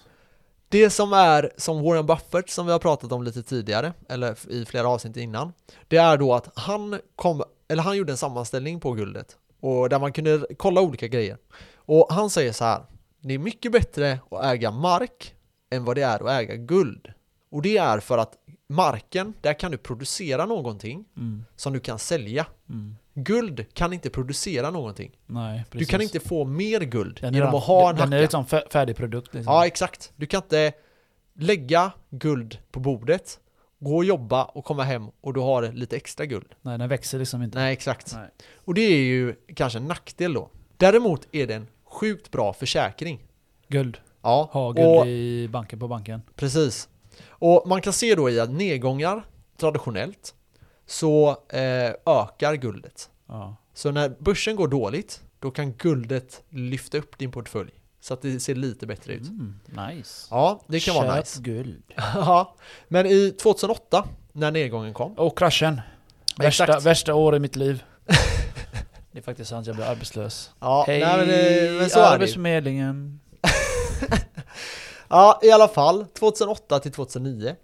[SPEAKER 1] Det som är som Warren Buffett som vi har pratat om lite tidigare, eller f- i flera avsnitt innan, det är då att han kom, eller han gjorde en sammanställning på guldet och där man kunde kolla olika grejer. Och han säger så här, det är mycket bättre att äga mark än vad det är att äga guld. Och det är för att marken, där kan du producera någonting
[SPEAKER 2] Mm.
[SPEAKER 1] som du kan sälja.
[SPEAKER 2] Mm.
[SPEAKER 1] Guld kan inte producera någonting.
[SPEAKER 2] Nej,
[SPEAKER 1] Du
[SPEAKER 2] precis.
[SPEAKER 1] kan inte få mer guld
[SPEAKER 2] den är
[SPEAKER 1] genom
[SPEAKER 2] redan-
[SPEAKER 1] att ha en
[SPEAKER 2] Den är
[SPEAKER 1] hacka.
[SPEAKER 2] liksom fär, färdig produkt. Liksom.
[SPEAKER 1] Ja, exakt. Du kan inte lägga guld på bordet, gå och jobba och komma hem och du har lite extra guld.
[SPEAKER 2] Nej, den växer liksom inte.
[SPEAKER 1] Nej, exakt.
[SPEAKER 2] Nej.
[SPEAKER 1] Och det är ju kanske en nackdel då. Däremot är det en sjukt bra försäkring.
[SPEAKER 2] Guld.
[SPEAKER 1] Ja,
[SPEAKER 2] Ha guld
[SPEAKER 1] och,
[SPEAKER 2] i banken på banken.
[SPEAKER 1] precis. Och man kan se då i att nedgångar traditionellt så eh, ökar guldet.
[SPEAKER 2] Ja.
[SPEAKER 1] Så när börsen går dåligt, då kan guldet lyfta upp din portfölj så att det ser lite bättre ut.
[SPEAKER 2] Mm, nice.
[SPEAKER 1] Ja, det kan vara
[SPEAKER 2] Köp
[SPEAKER 1] nice.
[SPEAKER 2] guld.
[SPEAKER 1] Ja, men i 2008 när nedgången kom.
[SPEAKER 2] Och kraschen. Värsta,
[SPEAKER 1] Exakt.
[SPEAKER 2] värsta år i mitt liv. det är faktiskt sant, jag blev arbetslös.
[SPEAKER 1] Ja,
[SPEAKER 2] Hej,
[SPEAKER 1] nej, men, eh, men så är det. ju.
[SPEAKER 2] Arbetsförmedlingen.
[SPEAKER 1] Ja, i alla fall 2008 till 2009.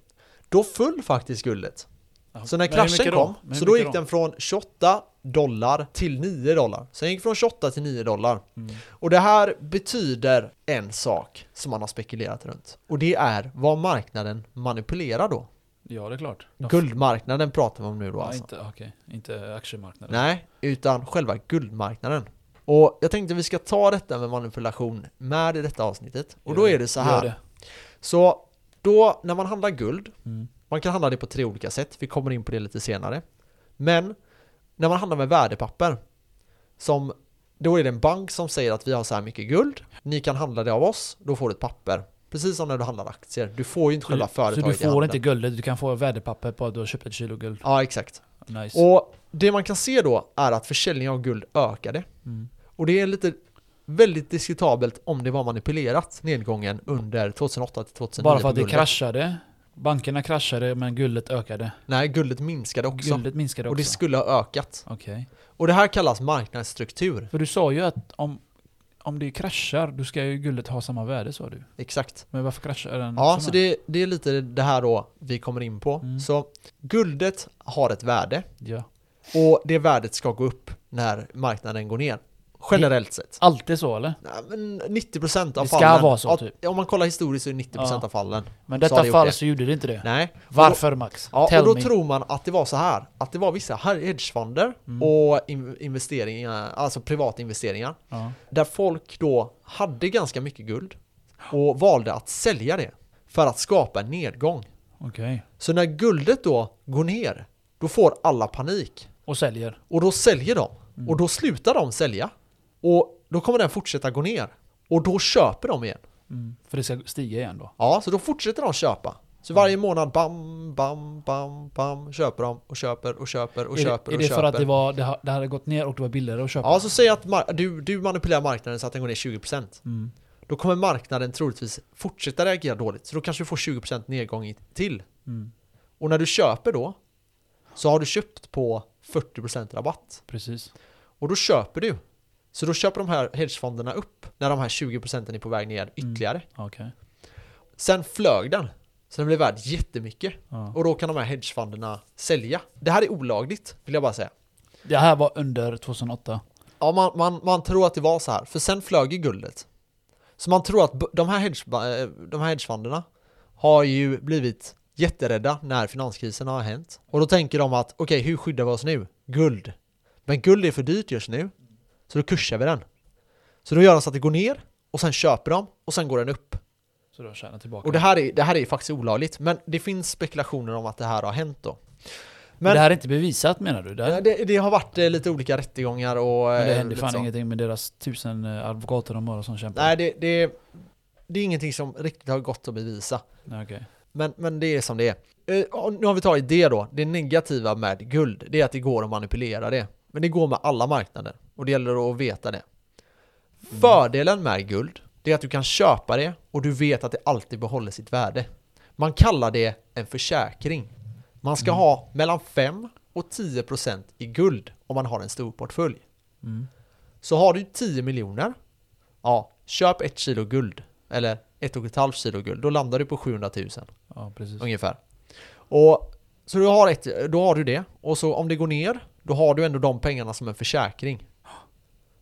[SPEAKER 1] Då föll faktiskt guldet.
[SPEAKER 2] Ja,
[SPEAKER 1] Så när
[SPEAKER 2] men hur
[SPEAKER 1] kraschen
[SPEAKER 2] mycket
[SPEAKER 1] kom,
[SPEAKER 2] Men hur
[SPEAKER 1] så då
[SPEAKER 2] mycket
[SPEAKER 1] gick den från 28 dollar till 9 dollar. Sen gick från 28 till 9 dollar.
[SPEAKER 2] Mm.
[SPEAKER 1] Och det här betyder en sak som man har spekulerat runt. Och det är vad marknaden manipulerar då.
[SPEAKER 2] Ja, det är klart.
[SPEAKER 1] Guldmarknaden pratar vi om nu då
[SPEAKER 2] Ja,
[SPEAKER 1] alltså.
[SPEAKER 2] inte, okej. inte aktiemarknaden.
[SPEAKER 1] Nej, utan själva guldmarknaden. Och jag tänkte vi ska ta detta med manipulation med i detta avsnittet. Och
[SPEAKER 2] Gör
[SPEAKER 1] då
[SPEAKER 2] det.
[SPEAKER 1] är det så
[SPEAKER 2] Gör
[SPEAKER 1] här.
[SPEAKER 2] det.
[SPEAKER 1] Så Då, när man handlar guld,
[SPEAKER 2] Mm.
[SPEAKER 1] man kan handla det på tre olika sätt. Vi kommer in på det lite senare. Men när man handlar med värdepapper, som, då är det en bank som säger att vi har så här mycket guld. Ni kan handla det av oss, då får du ett papper. Precis som när du handlar aktier. Du får ju inte själva
[SPEAKER 2] Så
[SPEAKER 1] företaget
[SPEAKER 2] du
[SPEAKER 1] i
[SPEAKER 2] får
[SPEAKER 1] handen.
[SPEAKER 2] inte guldet, du kan få värdepapper på att du har köpt ett kilo guld.
[SPEAKER 1] Ja, exakt.
[SPEAKER 2] Nice.
[SPEAKER 1] Och det man kan se då är att försäljningen av guld ökade.
[SPEAKER 2] Mm.
[SPEAKER 1] Och det är lite väldigt diskutabelt om det var manipulerat, nedgången under 2008 till 2009
[SPEAKER 2] Bara för
[SPEAKER 1] på
[SPEAKER 2] att det
[SPEAKER 1] guldet.
[SPEAKER 2] kraschade. Bankerna kraschade men guldet ökade.
[SPEAKER 1] Nej, guldet minskade också.
[SPEAKER 2] Guldet minskade
[SPEAKER 1] och
[SPEAKER 2] också.
[SPEAKER 1] det skulle ha ökat.
[SPEAKER 2] Okej.
[SPEAKER 1] Och det här kallas marknadsstruktur.
[SPEAKER 2] För du sa ju att om, om det kraschar, då ska ju guldet ha samma värde sa du.
[SPEAKER 1] Exakt.
[SPEAKER 2] Men varför kraschar den?
[SPEAKER 1] Ja,
[SPEAKER 2] också
[SPEAKER 1] så
[SPEAKER 2] med?
[SPEAKER 1] det, det är lite det här då vi kommer in på.
[SPEAKER 2] Mm.
[SPEAKER 1] Så guldet har ett värde
[SPEAKER 2] Ja.
[SPEAKER 1] och det värdet ska gå upp när marknaden går ner. Generellt sett.
[SPEAKER 2] Alltid så eller?
[SPEAKER 1] Nej, men 90% av
[SPEAKER 2] Det ska
[SPEAKER 1] fallen.
[SPEAKER 2] vara så,
[SPEAKER 1] Ja,
[SPEAKER 2] typ.
[SPEAKER 1] Om man kollar historiskt så är det 90%
[SPEAKER 2] Ja.
[SPEAKER 1] av fallen.
[SPEAKER 2] Men
[SPEAKER 1] Så har
[SPEAKER 2] detta
[SPEAKER 1] det
[SPEAKER 2] fall
[SPEAKER 1] gjort det.
[SPEAKER 2] så gjorde det inte det.
[SPEAKER 1] Nej.
[SPEAKER 2] Varför Max?
[SPEAKER 1] Ja,
[SPEAKER 2] Tell
[SPEAKER 1] och då
[SPEAKER 2] me.
[SPEAKER 1] tror man att det var så här, att det var vissa hedgefonder
[SPEAKER 2] Mm.
[SPEAKER 1] och in- investeringar, alltså privatinvesteringar,
[SPEAKER 2] Ja.
[SPEAKER 1] där folk då hade ganska mycket guld och valde att sälja det för att skapa en nedgång.
[SPEAKER 2] Okej.
[SPEAKER 1] Så när guldet då går ner, då får alla panik
[SPEAKER 2] Och säljer.
[SPEAKER 1] och då säljer de
[SPEAKER 2] Mm.
[SPEAKER 1] och då slutar de sälja och då kommer den fortsätta gå ner och då köper de igen.
[SPEAKER 2] Mm. För det ska stiga igen då.
[SPEAKER 1] Ja, så då fortsätter de köpa. Så
[SPEAKER 2] Mm.
[SPEAKER 1] varje månad, bam, bam, bam, bam, köper de och köper och köper och
[SPEAKER 2] är
[SPEAKER 1] köper
[SPEAKER 2] det, är
[SPEAKER 1] och
[SPEAKER 2] det
[SPEAKER 1] köper.
[SPEAKER 2] för att det, var, det, ha- det hade gått ner och det var billigare att köpa?
[SPEAKER 1] Ja, så säg att mar- du, du manipulerar marknaden så att den går ner 20%.
[SPEAKER 2] Mm.
[SPEAKER 1] Då kommer marknaden troligtvis fortsätta reagera dåligt. Så då kanske du får 20% nedgång i- till.
[SPEAKER 2] Mm.
[SPEAKER 1] Och när du köper då, så har du köpt på 40% rabatt.
[SPEAKER 2] Precis.
[SPEAKER 1] Och då köper du. Så då köper de här hedgefonderna upp när de här 20% är på väg
[SPEAKER 2] Mm.
[SPEAKER 1] ner ytterligare.
[SPEAKER 2] Okej.
[SPEAKER 1] Sen flög den. Så den blev värd jättemycket.
[SPEAKER 2] Ja.
[SPEAKER 1] Och då kan de här hedgefonderna sälja. Det här är olagligt, vill jag bara säga.
[SPEAKER 2] Det här var under 2008.
[SPEAKER 1] Ja, man, man, man tror att det var så här, för sen flög ju guldet. Så man tror att b- de här, hedge, eh, de här hedgefonderna har ju blivit jätterädda när finanskrisen har hänt. Och då tänker de att, okej, hur skyddar vi oss nu? Guld. Men guld är för dyrt just nu, så då kursar vi den. Så då gör de så att det går ner, och sen köper de, och sen går den upp.
[SPEAKER 2] Så de tjänar tillbaka.
[SPEAKER 1] Och det här är, det här är faktiskt olagligt, men det finns spekulationer om att det här har hänt då. Men-
[SPEAKER 2] det här är inte bevisat menar du? Det, här,
[SPEAKER 1] Ja, Det, det har varit eh, lite olika rättegångar och...
[SPEAKER 2] men det
[SPEAKER 1] eh,
[SPEAKER 2] händer
[SPEAKER 1] lite
[SPEAKER 2] fan
[SPEAKER 1] så.
[SPEAKER 2] ingenting med deras tusen eh, advokater de har som kämpar.
[SPEAKER 1] Nej, det, det, det är ingenting som riktigt har gått att bevisa.
[SPEAKER 2] Nej, okej.
[SPEAKER 1] Men, men det är som det är. Eh, och Nu har vi tagit det då. Det negativa med guld, det är att det går att manipulera det. Men det går med alla marknader och det gäller att veta det. Fördelen med guld, det är att du kan köpa det och du vet att det alltid behåller sitt värde. Man kallar det en försäkring. Man ska ha mellan 5 och 10% i guld om man har en stor portfölj.
[SPEAKER 2] Mm.
[SPEAKER 1] Så har du 10 miljoner, ja, köp ett kilo guld. Eller ett och ett halvt kilo guld. Då landar du på 700 000
[SPEAKER 2] Ja, precis.
[SPEAKER 1] ungefär. Och, så du har ett, då har du det. Och så om det går ner, då har du ändå de pengarna som en försäkring.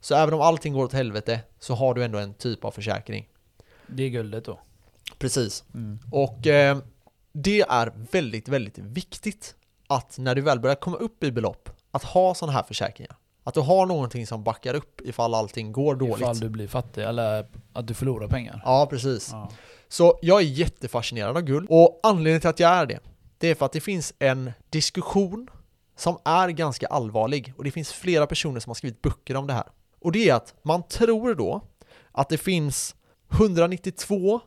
[SPEAKER 1] Så även om allting går åt helvete så har du ändå en typ av försäkring.
[SPEAKER 2] Det är guldet då.
[SPEAKER 1] Precis.
[SPEAKER 2] Mm.
[SPEAKER 1] Och eh, det är väldigt, väldigt viktigt att när du väl börjar komma upp i belopp, att ha sådana här försäkringar. Att du har någonting som backar upp ifall allting går dåligt.
[SPEAKER 2] Ifall du blir fattig eller att du förlorar pengar.
[SPEAKER 1] Ja, precis.
[SPEAKER 2] Ja.
[SPEAKER 1] Så jag är jättefascinerad av guld och anledningen till att jag är det, det är för att det finns en diskussion som är ganska allvarlig och det finns flera personer som har skrivit böcker om det här. Och det är att man tror då att det finns 192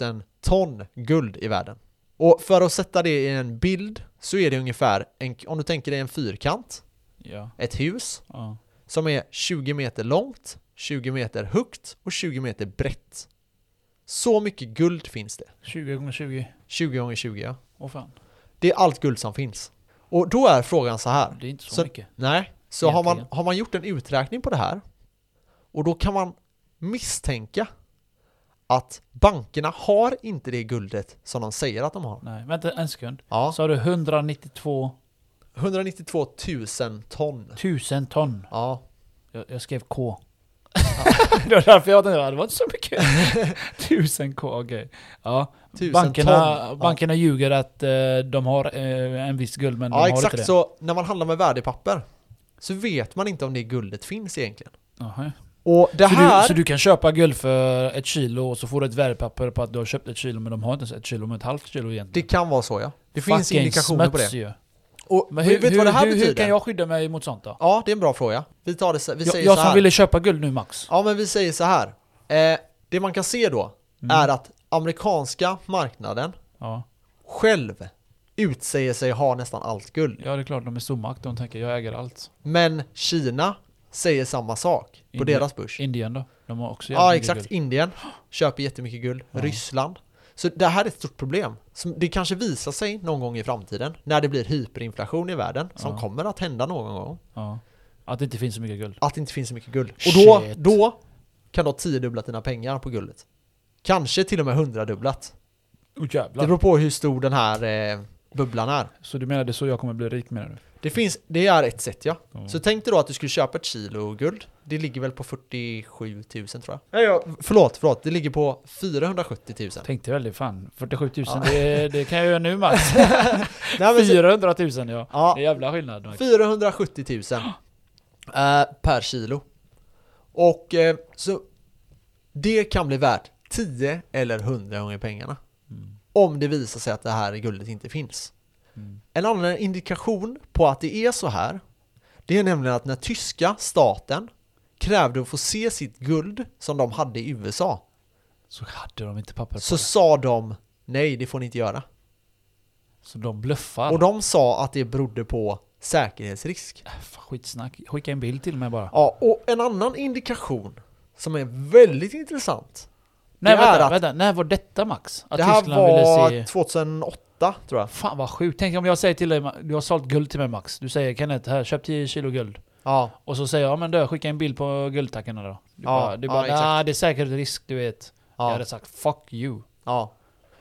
[SPEAKER 1] 000 ton guld i världen. Och för att sätta det i en bild så är det ungefär, en, om du tänker dig en fyrkant,
[SPEAKER 2] Ja.
[SPEAKER 1] ett hus,
[SPEAKER 2] ja.
[SPEAKER 1] som är 20 meter långt, 20 meter högt och 20 meter brett. Så mycket guld finns det.
[SPEAKER 2] 20 gånger 20.
[SPEAKER 1] 20 gånger 20 ja.
[SPEAKER 2] Åh fan.
[SPEAKER 1] Det är allt guld som finns. Och då är frågan så här.
[SPEAKER 2] Det är inte så,
[SPEAKER 1] Så-
[SPEAKER 2] mycket.
[SPEAKER 1] Nej, så har man,
[SPEAKER 2] Egentligen.
[SPEAKER 1] har man gjort en uträkning på det här och då kan man misstänka att bankerna har inte det guldet som de säger att de har.
[SPEAKER 2] Nej, vänta en sekund.
[SPEAKER 1] Ja,
[SPEAKER 2] Sa du 192
[SPEAKER 1] 192 000 ton.
[SPEAKER 2] 000 ton?
[SPEAKER 1] Ja,
[SPEAKER 2] Jag, jag skrev K. det var därför jag tänkte att det var inte så mycket. 1000 K, okej. Ja.
[SPEAKER 1] 1000
[SPEAKER 2] Bankerna,
[SPEAKER 1] ton. Ja.
[SPEAKER 2] bankerna ljuger att eh, de har eh, en viss guld, men de
[SPEAKER 1] Ja
[SPEAKER 2] har
[SPEAKER 1] exakt,
[SPEAKER 2] inte det.
[SPEAKER 1] så när man handlar med värdepapper så vet man inte om det guldet finns egentligen.
[SPEAKER 2] Jaha.
[SPEAKER 1] Och det
[SPEAKER 2] så,
[SPEAKER 1] här...
[SPEAKER 2] du, så du kan köpa guld för ett kilo och så får du ett värdepapper på att du har köpt ett kilo men de har inte ens ett kilo, men ett halvt kilo
[SPEAKER 1] Det
[SPEAKER 2] egentligen.
[SPEAKER 1] kan vara så ja. Det finns indikationer på det.
[SPEAKER 2] smuts ju.
[SPEAKER 1] Och,
[SPEAKER 2] Men hur,
[SPEAKER 1] vet du
[SPEAKER 2] hur,
[SPEAKER 1] vad det här
[SPEAKER 2] hur,
[SPEAKER 1] betyder?
[SPEAKER 2] hur kan jag skydda mig mot sånt då?
[SPEAKER 1] Ja, det är en bra fråga. Vi tar det så, vi
[SPEAKER 2] Jag,
[SPEAKER 1] säger
[SPEAKER 2] jag
[SPEAKER 1] så här.
[SPEAKER 2] som ville köpa guld nu Max.
[SPEAKER 1] Ja, men vi säger så här. Eh, det man kan se då
[SPEAKER 2] Mm.
[SPEAKER 1] är att amerikanska marknaden
[SPEAKER 2] Ja.
[SPEAKER 1] själv utsäger sig ha nästan allt guld.
[SPEAKER 2] ja, det är klart de är stormakt. De tänker jag äger allt.
[SPEAKER 1] Men Kina säger samma sak på
[SPEAKER 2] Indien.
[SPEAKER 1] deras börs.
[SPEAKER 2] Indien då? De har också jävligt
[SPEAKER 1] Ja,
[SPEAKER 2] mycket
[SPEAKER 1] exakt.
[SPEAKER 2] guld.
[SPEAKER 1] Indien köper jättemycket guld.
[SPEAKER 2] Ja.
[SPEAKER 1] Ryssland. Så det här är ett stort problem. Som det kanske visar sig någon gång i framtiden när det blir hyperinflation i världen som
[SPEAKER 2] Ja.
[SPEAKER 1] kommer att hända någon gång.
[SPEAKER 2] Ja. Att det inte finns så mycket guld.
[SPEAKER 1] Att det inte finns så mycket guld. Och då,
[SPEAKER 2] Shit.
[SPEAKER 1] då kan du ha tiodubblat dina pengar på guldet. Kanske till och med hundradubblat.
[SPEAKER 2] Oh,
[SPEAKER 1] Det beror på hur stor den här eh, bubblan är.
[SPEAKER 2] Så du menar det är så jag kommer bli rik menar du?
[SPEAKER 1] Det, finns, det är ett sätt ja.
[SPEAKER 2] Ja.
[SPEAKER 1] Så tänk dig då att du skulle köpa ett kilo guld. Det ligger väl på 47 000 tror jag. Nej, ja. Förlåt, förlåt. Det ligger på 470 000.
[SPEAKER 2] Tänkte väl det fan. 47 000
[SPEAKER 1] Ja.
[SPEAKER 2] det, det kan jag göra nu Max.
[SPEAKER 1] Nej, men så-
[SPEAKER 2] 400 000 ja.
[SPEAKER 1] Ja.
[SPEAKER 2] Det är jävla skillnad Max.
[SPEAKER 1] 470 000 eh, per kilo. Och eh, så det kan bli värt 10 eller 100 gånger pengarna.
[SPEAKER 2] Mm.
[SPEAKER 1] Om det visar sig att det här guldet inte finns.
[SPEAKER 2] Mm.
[SPEAKER 1] En annan indikation på att det är så här, det är nämligen att när tyska staten krävde att få se sitt guld som de hade i USA,
[SPEAKER 2] Så hade de inte papper på
[SPEAKER 1] så
[SPEAKER 2] så,
[SPEAKER 1] sa de nej, det får ni inte göra.
[SPEAKER 2] så de bluffar.
[SPEAKER 1] Och de sa att det berodde på säkerhetsrisk.
[SPEAKER 2] Äh, fan, Skitsnack. Skicka en bild till mig bara.
[SPEAKER 1] Ja, och en annan indikation som är väldigt intressant.
[SPEAKER 2] Nej
[SPEAKER 1] det är
[SPEAKER 2] vänta,
[SPEAKER 1] att-
[SPEAKER 2] vänta. När var detta Max? Att
[SPEAKER 1] det här
[SPEAKER 2] Tyskland ville se...
[SPEAKER 1] var 2008 tror jag.
[SPEAKER 2] Fan vad sjukt. Tänk om jag säger till dig, Ma- du har sålt guld till mig Max. Du säger Kenneth, här köp 10 kilo guld.
[SPEAKER 1] Ja,
[SPEAKER 2] Och så säger jag, ja men då skicka en bild på guldtackorna då. Du
[SPEAKER 1] Ja,
[SPEAKER 2] bara, du
[SPEAKER 1] ja,
[SPEAKER 2] bara,
[SPEAKER 1] exakt.
[SPEAKER 2] "Nej, det är säkert risk du vet. Jag
[SPEAKER 1] ja,
[SPEAKER 2] hade sagt fuck you.
[SPEAKER 1] ja.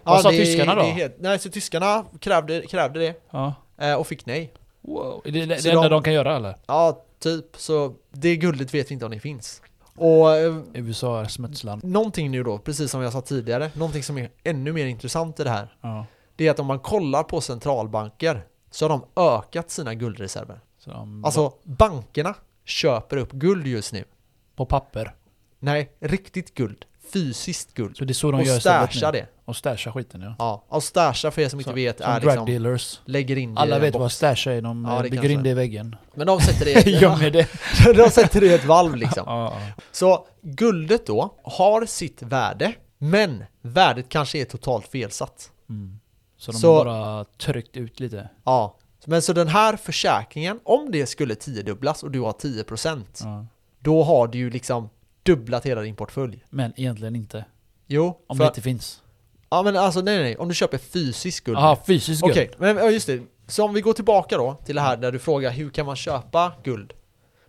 [SPEAKER 2] Vad
[SPEAKER 1] Ja,
[SPEAKER 2] sa
[SPEAKER 1] det-
[SPEAKER 2] tyskarna då?
[SPEAKER 1] det är helt- nej, så tyskarna krävde, krävde det
[SPEAKER 2] Ja.
[SPEAKER 1] eh, och fick nej.
[SPEAKER 2] Wow. Är det det,
[SPEAKER 1] Så
[SPEAKER 2] det enda
[SPEAKER 1] de-
[SPEAKER 2] de kan göra eller?
[SPEAKER 1] Ja, typ. Så det guldet vet vi inte om det finns. Och eh,
[SPEAKER 2] USA är smutsland.
[SPEAKER 1] någonting nu då, precis som jag sa tidigare, någonting som är ännu mer intressant i det här,
[SPEAKER 2] Ja.
[SPEAKER 1] det är att om man kollar på centralbanker så har de ökat sina guldreserver.
[SPEAKER 2] Så de,
[SPEAKER 1] Alltså, bankerna köper upp guld just nu.
[SPEAKER 2] på papper.
[SPEAKER 1] Nej, riktigt guld. Fysiskt guld.
[SPEAKER 2] Så det är så de
[SPEAKER 1] och
[SPEAKER 2] gör
[SPEAKER 1] stasha
[SPEAKER 2] nu.
[SPEAKER 1] det.
[SPEAKER 2] Och stasha skiten ja.
[SPEAKER 1] Ja, och stasha för er som inte
[SPEAKER 2] Så-
[SPEAKER 1] vet
[SPEAKER 2] Som
[SPEAKER 1] är
[SPEAKER 2] drug
[SPEAKER 1] liksom,
[SPEAKER 2] dealers.
[SPEAKER 1] lägger in det i
[SPEAKER 2] Alla
[SPEAKER 1] en
[SPEAKER 2] vet
[SPEAKER 1] box.
[SPEAKER 2] vad stasha är, de
[SPEAKER 1] Ja,
[SPEAKER 2] eh,
[SPEAKER 1] det
[SPEAKER 2] bygger
[SPEAKER 1] kanske
[SPEAKER 2] in det i väggen.
[SPEAKER 1] Men de sätter det i,
[SPEAKER 2] Gömmer det.
[SPEAKER 1] de sätter det i ett valv liksom.
[SPEAKER 2] Ja, ja.
[SPEAKER 1] Så guldet då har sitt värde, men värdet kanske är totalt felsatt.
[SPEAKER 2] Mm. Så de
[SPEAKER 1] Så-
[SPEAKER 2] har bara tryckt ut lite.
[SPEAKER 1] Ja, men så den här försäkringen, om det skulle tiodubblas och du har 10%
[SPEAKER 2] Ja.
[SPEAKER 1] då har du ju liksom dubblat hela din portfölj.
[SPEAKER 2] Men egentligen inte.
[SPEAKER 1] Jo,
[SPEAKER 2] Om
[SPEAKER 1] för,
[SPEAKER 2] det inte finns.
[SPEAKER 1] ja men alltså nej nej, nej, om du köper fysiskt guld.
[SPEAKER 2] Jaha, fysiskt guld.
[SPEAKER 1] Okej, men ja, just det. Så om vi går tillbaka då till det här där du frågar hur kan man köpa guld?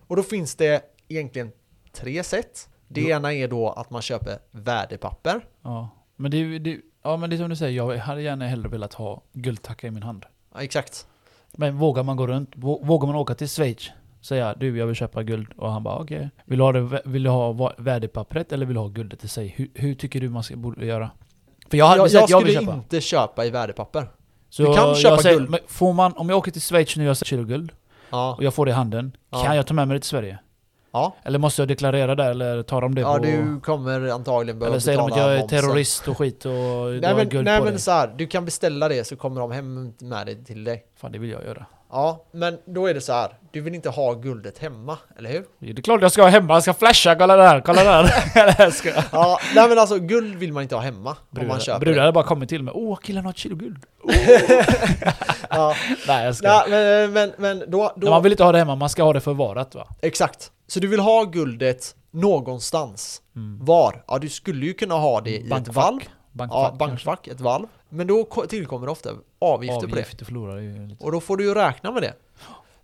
[SPEAKER 1] Och då finns det egentligen tre sätt. Det
[SPEAKER 2] Jo.
[SPEAKER 1] ena är då att man köper värdepapper.
[SPEAKER 2] Ja. Men det, är ju- det, är- ja, men det är som du säger, jag hade gärna hellre velat ha guldtacka i min hand.
[SPEAKER 1] Ja, exakt.
[SPEAKER 2] Men vågar man gå runt? Vå- Vågar man åka till Schweiz? Säga du, jag vill köpa guld. Och han bara okej. Vill du ha, det, vä- vill du ha va- värdepappret eller vill du ha guldet i sig? Hur, hur tycker du man ska, borde göra? För jag hade
[SPEAKER 1] Jag,
[SPEAKER 2] sagt
[SPEAKER 1] jag
[SPEAKER 2] jag vill
[SPEAKER 1] skulle
[SPEAKER 2] köpa.
[SPEAKER 1] inte köpa i värdepapper.
[SPEAKER 2] Så
[SPEAKER 1] du kan
[SPEAKER 2] jag
[SPEAKER 1] köpa
[SPEAKER 2] säger,
[SPEAKER 1] guld.
[SPEAKER 2] Men får man, om jag åker till Schweiz nu och jag säger kilo guld
[SPEAKER 1] Ja,
[SPEAKER 2] och jag får det i handen.
[SPEAKER 1] Ja.
[SPEAKER 2] Kan jag ta med mig det till Sverige?
[SPEAKER 1] ja.
[SPEAKER 2] Eller måste jag deklarera där eller tar de det
[SPEAKER 1] ja
[SPEAKER 2] på...
[SPEAKER 1] du kommer antagligen behöva
[SPEAKER 2] eller säger de att
[SPEAKER 1] betala
[SPEAKER 2] jag är
[SPEAKER 1] momsen.
[SPEAKER 2] terrorist och skit och du
[SPEAKER 1] Nej
[SPEAKER 2] har
[SPEAKER 1] men,
[SPEAKER 2] guld
[SPEAKER 1] nej,
[SPEAKER 2] på
[SPEAKER 1] men
[SPEAKER 2] dig?
[SPEAKER 1] så här, du kan beställa det så kommer de hem med det till dig.
[SPEAKER 2] Fan det vill jag göra.
[SPEAKER 1] Ja, men då är det så här. Du vill inte ha guldet hemma, eller hur?
[SPEAKER 2] Det är klart jag ska ha hemma, jag ska flasha, kolla där, kolla där. Eller jag ska...
[SPEAKER 1] Ja, nej men alltså guld vill man inte ha hemma om man
[SPEAKER 2] Brudar,
[SPEAKER 1] köper
[SPEAKER 2] brudar hade bara kommit till mig, åh killen har ett kilo guld.
[SPEAKER 1] det. Ja.
[SPEAKER 2] Nej jag ska.
[SPEAKER 1] Nej, men, men, men då...
[SPEAKER 2] Nej,
[SPEAKER 1] då
[SPEAKER 2] Man vill inte ha det hemma, man ska ha det förvarat va?
[SPEAKER 1] Exakt. Så du vill ha guldet någonstans.
[SPEAKER 2] Mm.
[SPEAKER 1] Var? Ja, du skulle ju kunna ha det i ett valv.
[SPEAKER 2] Bankfack.
[SPEAKER 1] Ja, bankfack, ett valv. Men då ko- tillkommer ofta avgifter på det.
[SPEAKER 2] Avgifter förlorar ju lite.
[SPEAKER 1] Och då får du ju räkna med det.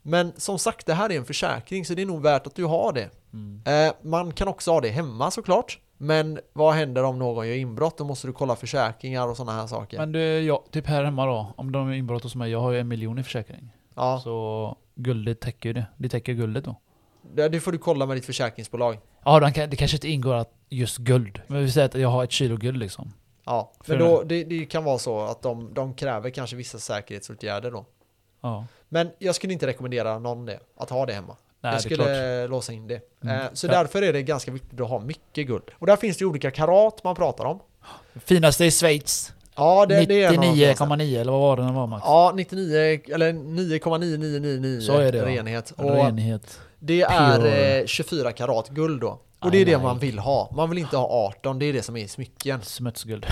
[SPEAKER 1] Men som sagt, det här är en försäkring så det är nog värt att du har det.
[SPEAKER 2] Mm.
[SPEAKER 1] Eh, man kan också ha det hemma såklart. Men vad händer om någon gör inbrott? Då måste du kolla försäkringar och sådana här saker.
[SPEAKER 2] Men du, ja, typ här hemma då, om de är inbrott hos mig, jag har ju en miljon i försäkring.
[SPEAKER 1] ja,
[SPEAKER 2] Så guldet täcker ju det, det täcker guldet då.
[SPEAKER 1] det det får du kolla med ditt försäkringsbolag.
[SPEAKER 2] Ja, de kan- det kanske inte ingår att just guld. Men vi säger att jag har ett kilo guld liksom.
[SPEAKER 1] Ja,
[SPEAKER 2] För
[SPEAKER 1] men då, det, det kan vara så att de, de kräver kanske vissa säkerhetsåtgärder då.
[SPEAKER 2] Ja.
[SPEAKER 1] Men jag skulle inte rekommendera någon det, att ha det hemma.
[SPEAKER 2] Nej,
[SPEAKER 1] jag
[SPEAKER 2] det är klart.
[SPEAKER 1] skulle låsa in det.
[SPEAKER 2] Mm.
[SPEAKER 1] Eh, Så
[SPEAKER 2] Ja.
[SPEAKER 1] därför är det ganska viktigt att ha mycket guld. Och där finns det ju olika karat man pratar om.
[SPEAKER 2] Finaste i Schweiz.
[SPEAKER 1] Ja, det, det är en av de finaste.
[SPEAKER 2] 99,9 eller vad var det den var Max?
[SPEAKER 1] Ja, 99 eller 9,9999
[SPEAKER 2] Så är det, ja.
[SPEAKER 1] renhet. Och
[SPEAKER 2] Renhet.
[SPEAKER 1] det är
[SPEAKER 2] Pure.
[SPEAKER 1] eh, 24 karat guld då. Och
[SPEAKER 2] Aj,
[SPEAKER 1] det är det
[SPEAKER 2] aj.
[SPEAKER 1] man vill ha. Man vill inte ha 18, det är det som är i smycken.
[SPEAKER 2] Smutsguld.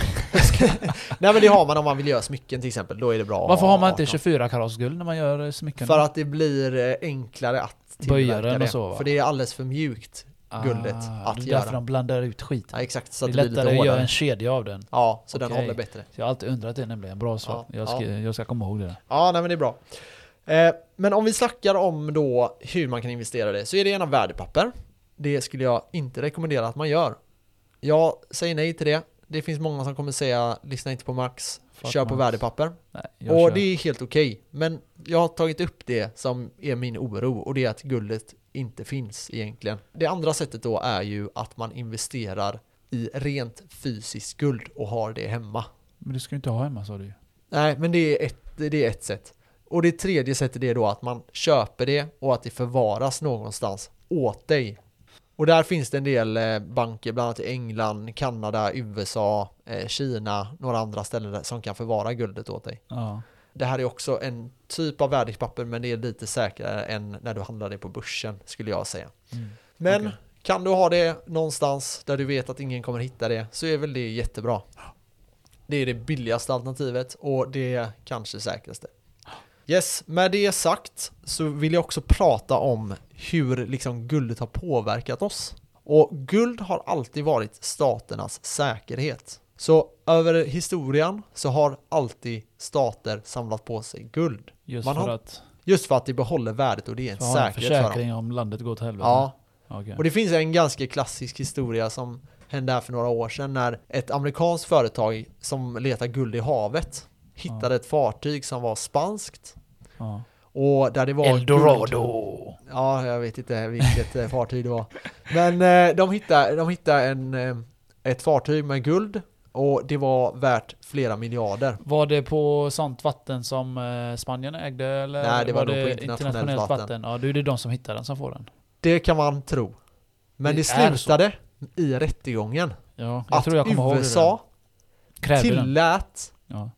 [SPEAKER 1] Nej men det har man om man vill göra smycken till exempel, då är det bra att
[SPEAKER 2] Varför har man inte
[SPEAKER 1] 18.
[SPEAKER 2] 24 karats guld när man gör eh, smycken?
[SPEAKER 1] För att det blir eh, enklare att
[SPEAKER 2] Böja
[SPEAKER 1] tillverka
[SPEAKER 2] den och
[SPEAKER 1] det.
[SPEAKER 2] så, va?
[SPEAKER 1] För det är alldeles för mjukt. guldet
[SPEAKER 2] Ah,
[SPEAKER 1] att
[SPEAKER 2] det är
[SPEAKER 1] göra.
[SPEAKER 2] därför de blandar ut skiten.
[SPEAKER 1] Ja, exakt, så att
[SPEAKER 2] det
[SPEAKER 1] det
[SPEAKER 2] är
[SPEAKER 1] blir lite
[SPEAKER 2] lättare att göra
[SPEAKER 1] hårdare.
[SPEAKER 2] en kedja av den.
[SPEAKER 1] Ja, så den
[SPEAKER 2] Okej.
[SPEAKER 1] håller bättre.
[SPEAKER 2] Så jag har alltid undrat det nämligen. Bra svar.
[SPEAKER 1] Ja,
[SPEAKER 2] jag, ska,
[SPEAKER 1] ja.
[SPEAKER 2] jag ska komma ihåg det. där.
[SPEAKER 1] Ja, nej men det är bra. Eh, Men om vi snackar om då hur man kan investera det så är det genom värdepapper. Det skulle jag inte rekommendera att man gör. Jag säger nej till det. Det finns många som kommer säga lyssna inte på Max,
[SPEAKER 2] Fuck
[SPEAKER 1] kör på
[SPEAKER 2] Max."
[SPEAKER 1] värdepapper.
[SPEAKER 2] Nej, jag
[SPEAKER 1] Och
[SPEAKER 2] kör.
[SPEAKER 1] det är helt okej. Men jag har tagit upp det som är min oro och det är att guldet inte finns egentligen. Det andra sättet då är ju att man investerar i rent fysiskt guld och har det hemma.
[SPEAKER 2] Men du ska ju inte ha hemma sa du ju.
[SPEAKER 1] Nej, men det är ett, det är ett sätt. Och det tredje sättet är då att man köper det och att det förvaras någonstans åt dig. Och där finns det en del eh, banker, bland annat i England, Kanada, USA, eh, Kina, några andra ställen där, som kan förvara guldet åt dig.
[SPEAKER 2] Ja.
[SPEAKER 1] Det här är också en typ av värdepapper, men det är lite säkrare än när du handlar det på börsen, skulle jag säga.
[SPEAKER 2] Mm.
[SPEAKER 1] Men
[SPEAKER 2] Okej.
[SPEAKER 1] kan du ha det någonstans där du vet att ingen kommer hitta det så är väl det jättebra. Det är det billigaste alternativet och det är kanske säkraste. Yes, med det sagt så vill jag också prata om hur liksom guldet har påverkat oss. Och guld har alltid varit staternas säkerhet. Så över historien så har alltid stater samlat på sig guld.
[SPEAKER 2] Just
[SPEAKER 1] Man
[SPEAKER 2] för
[SPEAKER 1] har
[SPEAKER 2] att
[SPEAKER 1] Just för att det behåller värdet och det är en
[SPEAKER 2] för att ha en
[SPEAKER 1] säkerhet för dem.
[SPEAKER 2] försäkring om landet går åt helvete.
[SPEAKER 1] Ja,
[SPEAKER 2] Okej.
[SPEAKER 1] och det finns en ganska klassisk historia som hände här för några år sedan när ett amerikanskt företag som letar guld i havet hittade ett fartyg som var spanskt
[SPEAKER 2] ja.
[SPEAKER 1] och där det var guld.
[SPEAKER 2] Eldorado!
[SPEAKER 1] Ja, jag vet inte vilket eh, fartyg det var. Men eh, de hittade, de hittade en, eh, ett fartyg med guld och det var värt flera miljarder.
[SPEAKER 2] Var det på sånt vatten som eh, Spanien ägde? Eller
[SPEAKER 1] Nej, det var nog på internationellt vatten.
[SPEAKER 2] Ja, då är det de som hittar den som får den.
[SPEAKER 1] Det kan man tro. Men det,
[SPEAKER 2] Det är så.
[SPEAKER 1] slutade i rättegången
[SPEAKER 2] Ja, jag
[SPEAKER 1] att
[SPEAKER 2] tror jag kommer ihåg
[SPEAKER 1] USA
[SPEAKER 2] det. där. Krävde den.
[SPEAKER 1] tillät
[SPEAKER 2] Ja.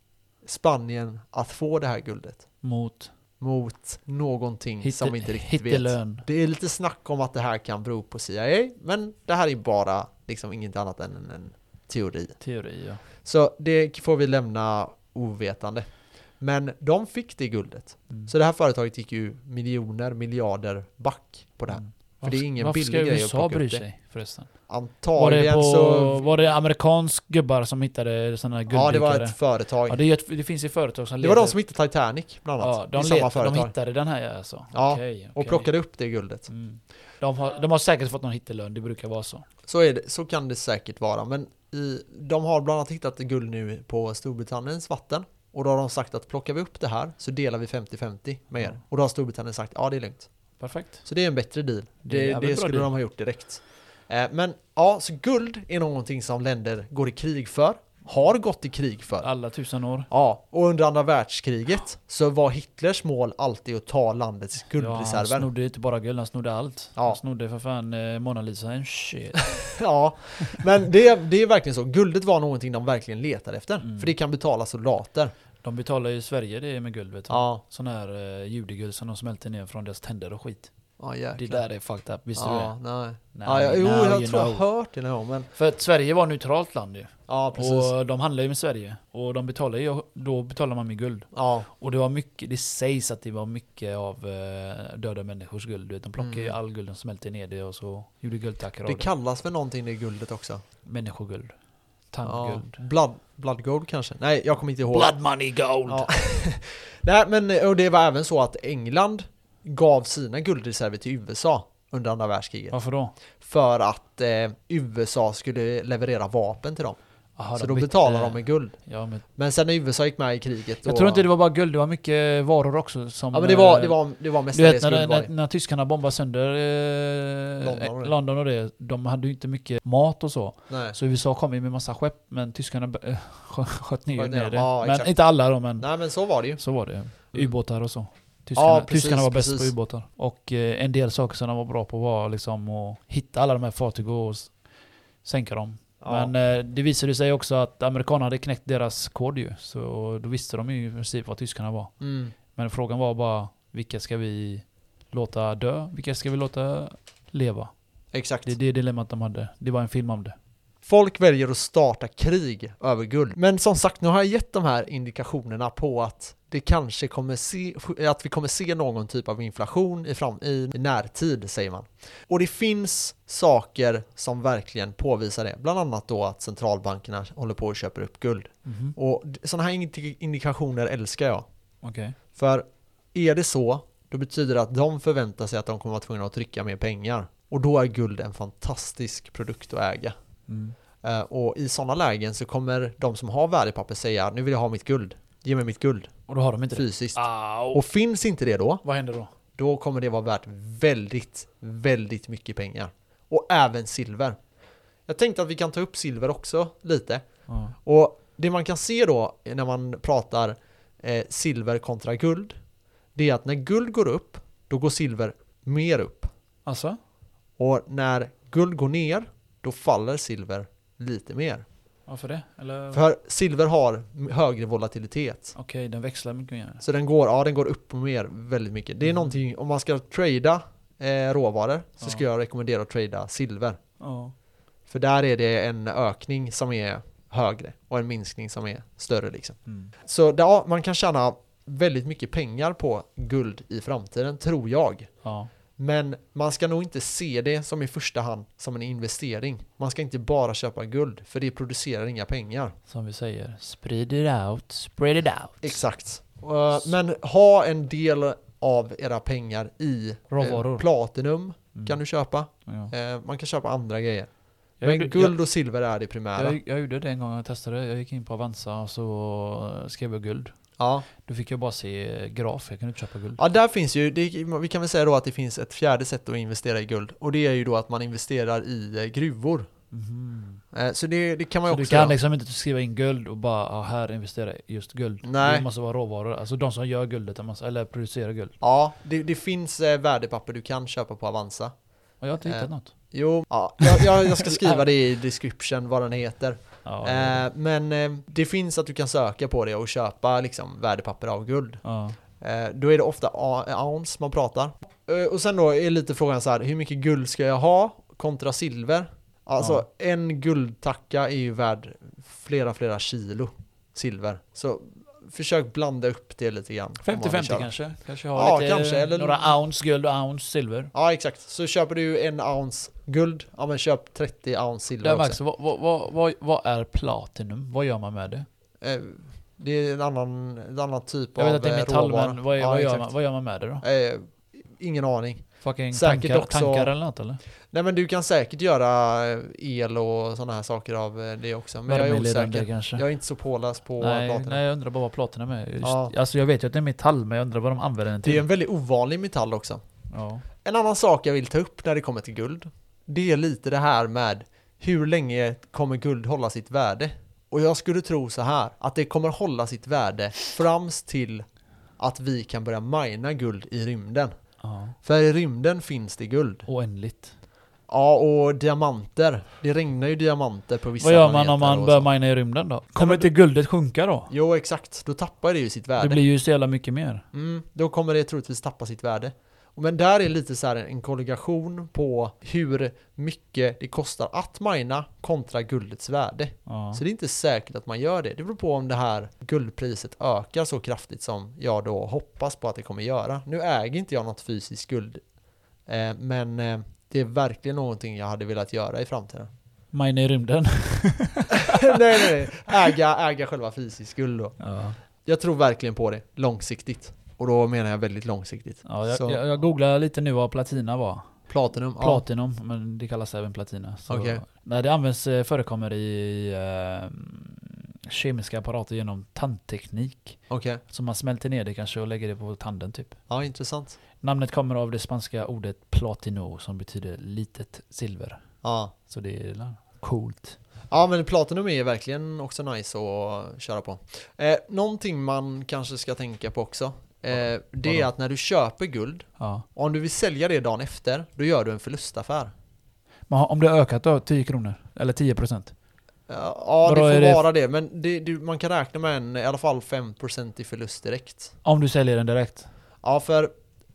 [SPEAKER 1] Spanien att få det här guldet.
[SPEAKER 2] Mot
[SPEAKER 1] mot någonting
[SPEAKER 2] Hitte-
[SPEAKER 1] Mm. som vi inte riktigt vet.
[SPEAKER 2] Hittelön.
[SPEAKER 1] Det är lite snack om att det här kan bero på CIA, men det här är bara liksom inget annat än en, en teori.
[SPEAKER 2] Teori, ja.
[SPEAKER 1] Så det får vi lämna ovetande. Men de fick det guldet.
[SPEAKER 2] Mm.
[SPEAKER 1] Så det här företaget gick ju miljoner, miljarder back på det här.
[SPEAKER 2] Mm.
[SPEAKER 1] För det är ingen
[SPEAKER 2] varför
[SPEAKER 1] billig grej att
[SPEAKER 2] ska USA
[SPEAKER 1] plocka
[SPEAKER 2] bry
[SPEAKER 1] upp det.
[SPEAKER 2] sig förresten? Var det,
[SPEAKER 1] Antagligen
[SPEAKER 2] på,
[SPEAKER 1] så...
[SPEAKER 2] var det amerikansk gubbar som hittade sådana här
[SPEAKER 1] Ja, det var
[SPEAKER 2] gulddykare?
[SPEAKER 1] ett företag.
[SPEAKER 2] Ja,
[SPEAKER 1] det,
[SPEAKER 2] det, är ett, det finns ju företag som
[SPEAKER 1] var
[SPEAKER 2] leder-
[SPEAKER 1] de som hittade Titanic, bland annat.
[SPEAKER 2] ja, de,
[SPEAKER 1] I samma
[SPEAKER 2] letar-
[SPEAKER 1] företag.
[SPEAKER 2] de hittade den här alltså?
[SPEAKER 1] Ja,
[SPEAKER 2] Okej,
[SPEAKER 1] Och
[SPEAKER 2] okej.
[SPEAKER 1] plockade upp det guldet.
[SPEAKER 2] Mm. De, har, de har säkert fått någon hittelön, det brukar vara så.
[SPEAKER 1] Så, är det, så kan det säkert vara, men i, de har bland annat hittat guld nu på Storbritanniens vatten. Och då har de sagt att plockar vi upp det här så delar vi 50-50 med er.
[SPEAKER 2] Ja.
[SPEAKER 1] Och då har Storbritannien sagt ja det är lugnt.
[SPEAKER 2] Perfekt.
[SPEAKER 1] Så det är en bättre deal.
[SPEAKER 2] Det är
[SPEAKER 1] Det, det,
[SPEAKER 2] jävligt bra
[SPEAKER 1] skulle
[SPEAKER 2] deal.
[SPEAKER 1] de ha gjort direkt. Eh, men ja, så guld är någonting som länder går i krig för. Har gått i krig för.
[SPEAKER 2] Alla tusen år.
[SPEAKER 1] Ja, och under andra världskriget så var Hitlers mål alltid att ta landets
[SPEAKER 2] Ja, han
[SPEAKER 1] guldreserver.
[SPEAKER 2] snodde inte bara guld, han snodde allt.
[SPEAKER 1] Ja.
[SPEAKER 2] Han snodde för fan eh, Mona Lisa en shit.
[SPEAKER 1] Ja, men det, det är verkligen så. Guldet var någonting de verkligen letade efter.
[SPEAKER 2] Mm.
[SPEAKER 1] För det kan betala soldater.
[SPEAKER 2] De betalar ju i Sverige det med guld vet du.
[SPEAKER 1] Ja,
[SPEAKER 2] Sån här eh, judeguld som de smälter ner från deras tänder och skit.
[SPEAKER 1] ja
[SPEAKER 2] Det
[SPEAKER 1] jäklar.
[SPEAKER 2] där är fucked up, visste du
[SPEAKER 1] Ja,
[SPEAKER 2] det?
[SPEAKER 1] nej.
[SPEAKER 2] Nej,
[SPEAKER 1] Ja, jag, jo,
[SPEAKER 2] now
[SPEAKER 1] jag
[SPEAKER 2] you
[SPEAKER 1] tror jag
[SPEAKER 2] know.
[SPEAKER 1] har hört det någon gång, men...
[SPEAKER 2] För att Sverige var ett neutralt land ju.
[SPEAKER 1] Ja, precis.
[SPEAKER 2] Och de handlar ju med Sverige. Och de betalar ju, då betalar man med guld.
[SPEAKER 1] Ja,
[SPEAKER 2] Och det var mycket, det sägs att det var mycket av eh, döda människors guld. du vet. De plockade ju
[SPEAKER 1] Mm.
[SPEAKER 2] all guld, de smälte ner det och så gjorde guldtackor av
[SPEAKER 1] det
[SPEAKER 2] det.
[SPEAKER 1] kallas för någonting det guldet också.
[SPEAKER 2] Människoguld.
[SPEAKER 1] Ja,
[SPEAKER 2] Tandguld.
[SPEAKER 1] blood, blood gold kanske? Nej, jag kommer inte ihåg.
[SPEAKER 2] Blood money gold!
[SPEAKER 1] Ja. Nej, men och det var även så att England gav sina guldreserver till USA under andra världskriget.
[SPEAKER 2] Varför då?
[SPEAKER 1] För att eh, USA skulle leverera vapen till dem.
[SPEAKER 2] Aha,
[SPEAKER 1] så
[SPEAKER 2] de eh,
[SPEAKER 1] då
[SPEAKER 2] bytte-
[SPEAKER 1] betalade de med guld.
[SPEAKER 2] Ja, men
[SPEAKER 1] Men sen när USA gick med i kriget då...
[SPEAKER 2] Jag tror inte det var bara guld, det var mycket varor också. Som,
[SPEAKER 1] Ja men det var,
[SPEAKER 2] eh,
[SPEAKER 1] det var, det var
[SPEAKER 2] Du vet
[SPEAKER 1] mestadels
[SPEAKER 2] när,
[SPEAKER 1] guld var
[SPEAKER 2] när,
[SPEAKER 1] det.
[SPEAKER 2] när tyskarna bombade sönder eh,
[SPEAKER 1] London och det.
[SPEAKER 2] London, och London och det, de hade ju inte mycket mat och så.
[SPEAKER 1] Nej.
[SPEAKER 2] Så USA kom ju med massa skepp, men tyskarna eh, skö- sköt ner,
[SPEAKER 1] Sköt ner
[SPEAKER 2] ner det.
[SPEAKER 1] dem. Ja,
[SPEAKER 2] men
[SPEAKER 1] exakt.
[SPEAKER 2] inte alla då, men
[SPEAKER 1] Nej men så var det ju.
[SPEAKER 2] så var det. Ubåtar och så. Tyskarna,
[SPEAKER 1] Ja, precis,
[SPEAKER 2] tyskarna var bäst
[SPEAKER 1] precis.
[SPEAKER 2] på ubåtar. Och eh, en del saker som de var bra på var liksom att hitta alla de här fartygen och s- sänka dem.
[SPEAKER 1] Ja.
[SPEAKER 2] Men eh, det visade sig också att amerikanerna hade knäckt deras kod ju. Så då visste de ju i princip vad tyskarna var.
[SPEAKER 1] Mm.
[SPEAKER 2] Men frågan var bara vilka ska vi låta dö? Vilka ska vi låta leva?
[SPEAKER 1] Exakt.
[SPEAKER 2] Det är det dilemmat de hade. Det var en film om det.
[SPEAKER 1] Folk väljer att starta krig över guld. Men som sagt, nu har jag gett de här indikationerna på att det kanske kommer se, att vi kommer se någon typ av inflation i, fram, i närtid, säger man. Och det finns saker som verkligen påvisar det. Bland annat då att centralbankerna håller på och köper upp guld.
[SPEAKER 2] Mhm.
[SPEAKER 1] Och d- sådana här indi- indikationer älskar jag.
[SPEAKER 2] Okej.
[SPEAKER 1] För är det så, då betyder det att de förväntar sig att de kommer vara tvungna att trycka mer pengar. Och då är guld en fantastisk produkt att äga.
[SPEAKER 2] Mm.
[SPEAKER 1] Eh, Och i sådana lägen så kommer de som har värdepapper säga nu vill jag ha mitt guld. Ge mig mitt guld
[SPEAKER 2] Och då har de inte det.
[SPEAKER 1] fysiskt.
[SPEAKER 2] Au.
[SPEAKER 1] Och finns inte det då,
[SPEAKER 2] Vad händer då?
[SPEAKER 1] då kommer det vara värt väldigt, väldigt mycket pengar. Och även silver. Jag tänkte att vi kan ta upp silver också lite.
[SPEAKER 2] Ja.
[SPEAKER 1] Och det man kan se då när man pratar eh, silver kontra guld, det är att när guld går upp, då går silver mer upp.
[SPEAKER 2] Alltså?
[SPEAKER 1] Och när guld går ner, då faller silver lite mer.
[SPEAKER 2] Varför det? Eller?
[SPEAKER 1] För silver har m- högre volatilitet.
[SPEAKER 2] Okej, den växlar mycket mer.
[SPEAKER 1] Så den går, ja, den går upp och ner väldigt mycket. Det är
[SPEAKER 2] Mm.
[SPEAKER 1] någonting, om man ska trada eh, råvaror så
[SPEAKER 2] Ja.
[SPEAKER 1] skulle jag rekommendera att trada silver.
[SPEAKER 2] Ja.
[SPEAKER 1] För där är det en ökning som är högre och en minskning som är större liksom.
[SPEAKER 2] Mm.
[SPEAKER 1] Så ja, man kan tjäna väldigt mycket pengar på guld i framtiden, tror jag.
[SPEAKER 2] ja.
[SPEAKER 1] Men man ska nog inte se det som i första hand som en investering. Man ska inte bara köpa guld, för det producerar inga pengar.
[SPEAKER 2] Som vi säger, spread it out, spread it out.
[SPEAKER 1] Exakt. Eh, Men ha en del av era pengar i eh,
[SPEAKER 2] Råvaror.
[SPEAKER 1] platinum
[SPEAKER 2] Mm.
[SPEAKER 1] kan du köpa.
[SPEAKER 2] Ja.
[SPEAKER 1] Eh, Man kan köpa andra grejer.
[SPEAKER 2] Jag
[SPEAKER 1] Men
[SPEAKER 2] gjorde-
[SPEAKER 1] guld och silver är det primära.
[SPEAKER 2] Jag, jag gjorde det en gång jag testade. Jag gick in på Avanza och så skrev jag guld.
[SPEAKER 1] ja.
[SPEAKER 2] Då fick jag bara se graf, jag kunde inte köpa guld.
[SPEAKER 1] ja, där finns ju, det, vi kan väl säga då att det finns ett fjärde sätt att investera i guld. Och det är ju då att man investerar i eh, gruvor.
[SPEAKER 2] Mhm.
[SPEAKER 1] Eh, Så det, det kan man
[SPEAKER 2] Så
[SPEAKER 1] ju
[SPEAKER 2] du
[SPEAKER 1] också
[SPEAKER 2] kan
[SPEAKER 1] göra.
[SPEAKER 2] liksom inte skriva in guld och bara ah, här investera i just guld.
[SPEAKER 1] Nej.
[SPEAKER 2] Det måste vara råvaror, alltså de som gör guldet, de måste- eller producerar guld.
[SPEAKER 1] Ja, det, det finns eh, värdepapper du kan köpa på Avanza.
[SPEAKER 2] Och jag har inte
[SPEAKER 1] Eh.
[SPEAKER 2] hittat något.
[SPEAKER 1] Jo, ja, jag, jag, jag ska skriva det i description vad den heter.
[SPEAKER 2] Ja, det-
[SPEAKER 1] Eh, men eh, det finns att du kan söka på det och köpa liksom, värdepapper av guld.
[SPEAKER 2] ja.
[SPEAKER 1] Eh, då är det ofta a- ounce man pratar. Eh, och sen då är lite frågan så här, hur mycket guld ska jag ha kontra silver? Alltså en guldtacka är ju värd flera, flera kilo silver. Så försök blanda upp det lite grann. om man vill
[SPEAKER 2] 50-50
[SPEAKER 1] köra.
[SPEAKER 2] kanske? Kanske
[SPEAKER 1] Ja,
[SPEAKER 2] ha lite,
[SPEAKER 1] kanske, eller-
[SPEAKER 2] några ounce guld och ounce silver.
[SPEAKER 1] Ja, exakt. Så köper du en ounce guld, ja men köp 30 ounce silver
[SPEAKER 2] Där
[SPEAKER 1] också.
[SPEAKER 2] Max, vad, vad, vad, vad, vad är platinum? Vad gör man med det?
[SPEAKER 1] Eh, Det är en annan, en annan typ
[SPEAKER 2] Jag
[SPEAKER 1] av
[SPEAKER 2] vet att det är
[SPEAKER 1] eh,
[SPEAKER 2] metall,
[SPEAKER 1] råvara.
[SPEAKER 2] men vad, är-
[SPEAKER 1] Ja,
[SPEAKER 2] vad, gör
[SPEAKER 1] exakt.
[SPEAKER 2] man, vad gör man med det då?
[SPEAKER 1] Eh, ingen aning.
[SPEAKER 2] Fucking
[SPEAKER 1] säkert
[SPEAKER 2] tankar,
[SPEAKER 1] också-
[SPEAKER 2] tankar eller något eller?
[SPEAKER 1] Nej men du kan säkert göra eh, el och sådana här saker av eh, det också. Men jag är
[SPEAKER 2] Värmeledande
[SPEAKER 1] osäker.
[SPEAKER 2] kanske?
[SPEAKER 1] Jag är inte så påläst på
[SPEAKER 2] nej,
[SPEAKER 1] platina.
[SPEAKER 2] nej, jag undrar bara vad platinum är. Just,
[SPEAKER 1] Ja.
[SPEAKER 2] Alltså jag vet ju att det är metall, men jag undrar vad de använder den
[SPEAKER 1] Det är
[SPEAKER 2] till.
[SPEAKER 1] en väldigt ovanlig metall också.
[SPEAKER 2] Ja.
[SPEAKER 1] En annan sak jag vill ta upp när det kommer till guld. Det är lite det här med hur länge kommer guld hålla sitt värde? Och jag skulle tro så här att det kommer hålla sitt värde frams till att vi kan börja mina guld i rymden.
[SPEAKER 2] ja.
[SPEAKER 1] För i rymden finns det guld.
[SPEAKER 2] Oändligt.
[SPEAKER 1] Ja, och diamanter. Det regnar ju diamanter på vissa
[SPEAKER 2] Vad gör man om
[SPEAKER 1] planeter
[SPEAKER 2] man
[SPEAKER 1] och
[SPEAKER 2] börjar
[SPEAKER 1] så.
[SPEAKER 2] mina i rymden då? Kommer inte guldet sjunka då?
[SPEAKER 1] Jo, exakt. Då tappar det ju sitt värde.
[SPEAKER 2] Det blir ju så jävla mycket mer.
[SPEAKER 1] Mm, då kommer det troligtvis tappa sitt värde. Och Men där är lite så här en kolligation på hur mycket det kostar att mina kontra guldets värde.
[SPEAKER 2] Ja.
[SPEAKER 1] Så det är inte säkert att man gör det. Det beror på om det här guldpriset ökar så kraftigt som jag då hoppas på att det kommer göra. Nu äger inte jag något fysiskt guld, eh, men eh, det är verkligen någonting jag hade velat göra i framtiden.
[SPEAKER 2] Mina i rymden.
[SPEAKER 1] nej, nej, nej. Äga, äga själva fysiskt guld då.
[SPEAKER 2] Ja.
[SPEAKER 1] Jag tror verkligen på det, långsiktigt. Och då menar jag väldigt långsiktigt.
[SPEAKER 2] Ja, jag,
[SPEAKER 1] Så-
[SPEAKER 2] jag, jag googlar lite nu vad platina var.
[SPEAKER 1] Platinum, ja.
[SPEAKER 2] Platinum, men det kallas även platina. Så
[SPEAKER 1] Okej.
[SPEAKER 2] När det används eh, förekommer i eh, kemiska apparater genom tandteknik.
[SPEAKER 1] Okej,
[SPEAKER 2] Så man smälter ner det kanske och lägger det på tanden typ.
[SPEAKER 1] ja intressant.
[SPEAKER 2] Namnet kommer av det spanska ordet platino som betyder litet silver.
[SPEAKER 1] Ja.
[SPEAKER 2] Så det är la- coolt.
[SPEAKER 1] ja, men Platinum är verkligen också nice att köra på. Eh, någonting man kanske ska tänka på också eh, det är att när du köper guld,
[SPEAKER 2] Ja.
[SPEAKER 1] om du vill sälja det dagen efter, då gör du en förlustaffär.
[SPEAKER 2] Men har- om det har ökat då, 10 kronor? Eller 10 procent?
[SPEAKER 1] Ja, ja det
[SPEAKER 2] Vadå,
[SPEAKER 1] får
[SPEAKER 2] är det-
[SPEAKER 1] vara det, men det, du, man kan räkna med en i alla fall 5% i förlust direkt.
[SPEAKER 2] Om du säljer den direkt?
[SPEAKER 1] Ja, för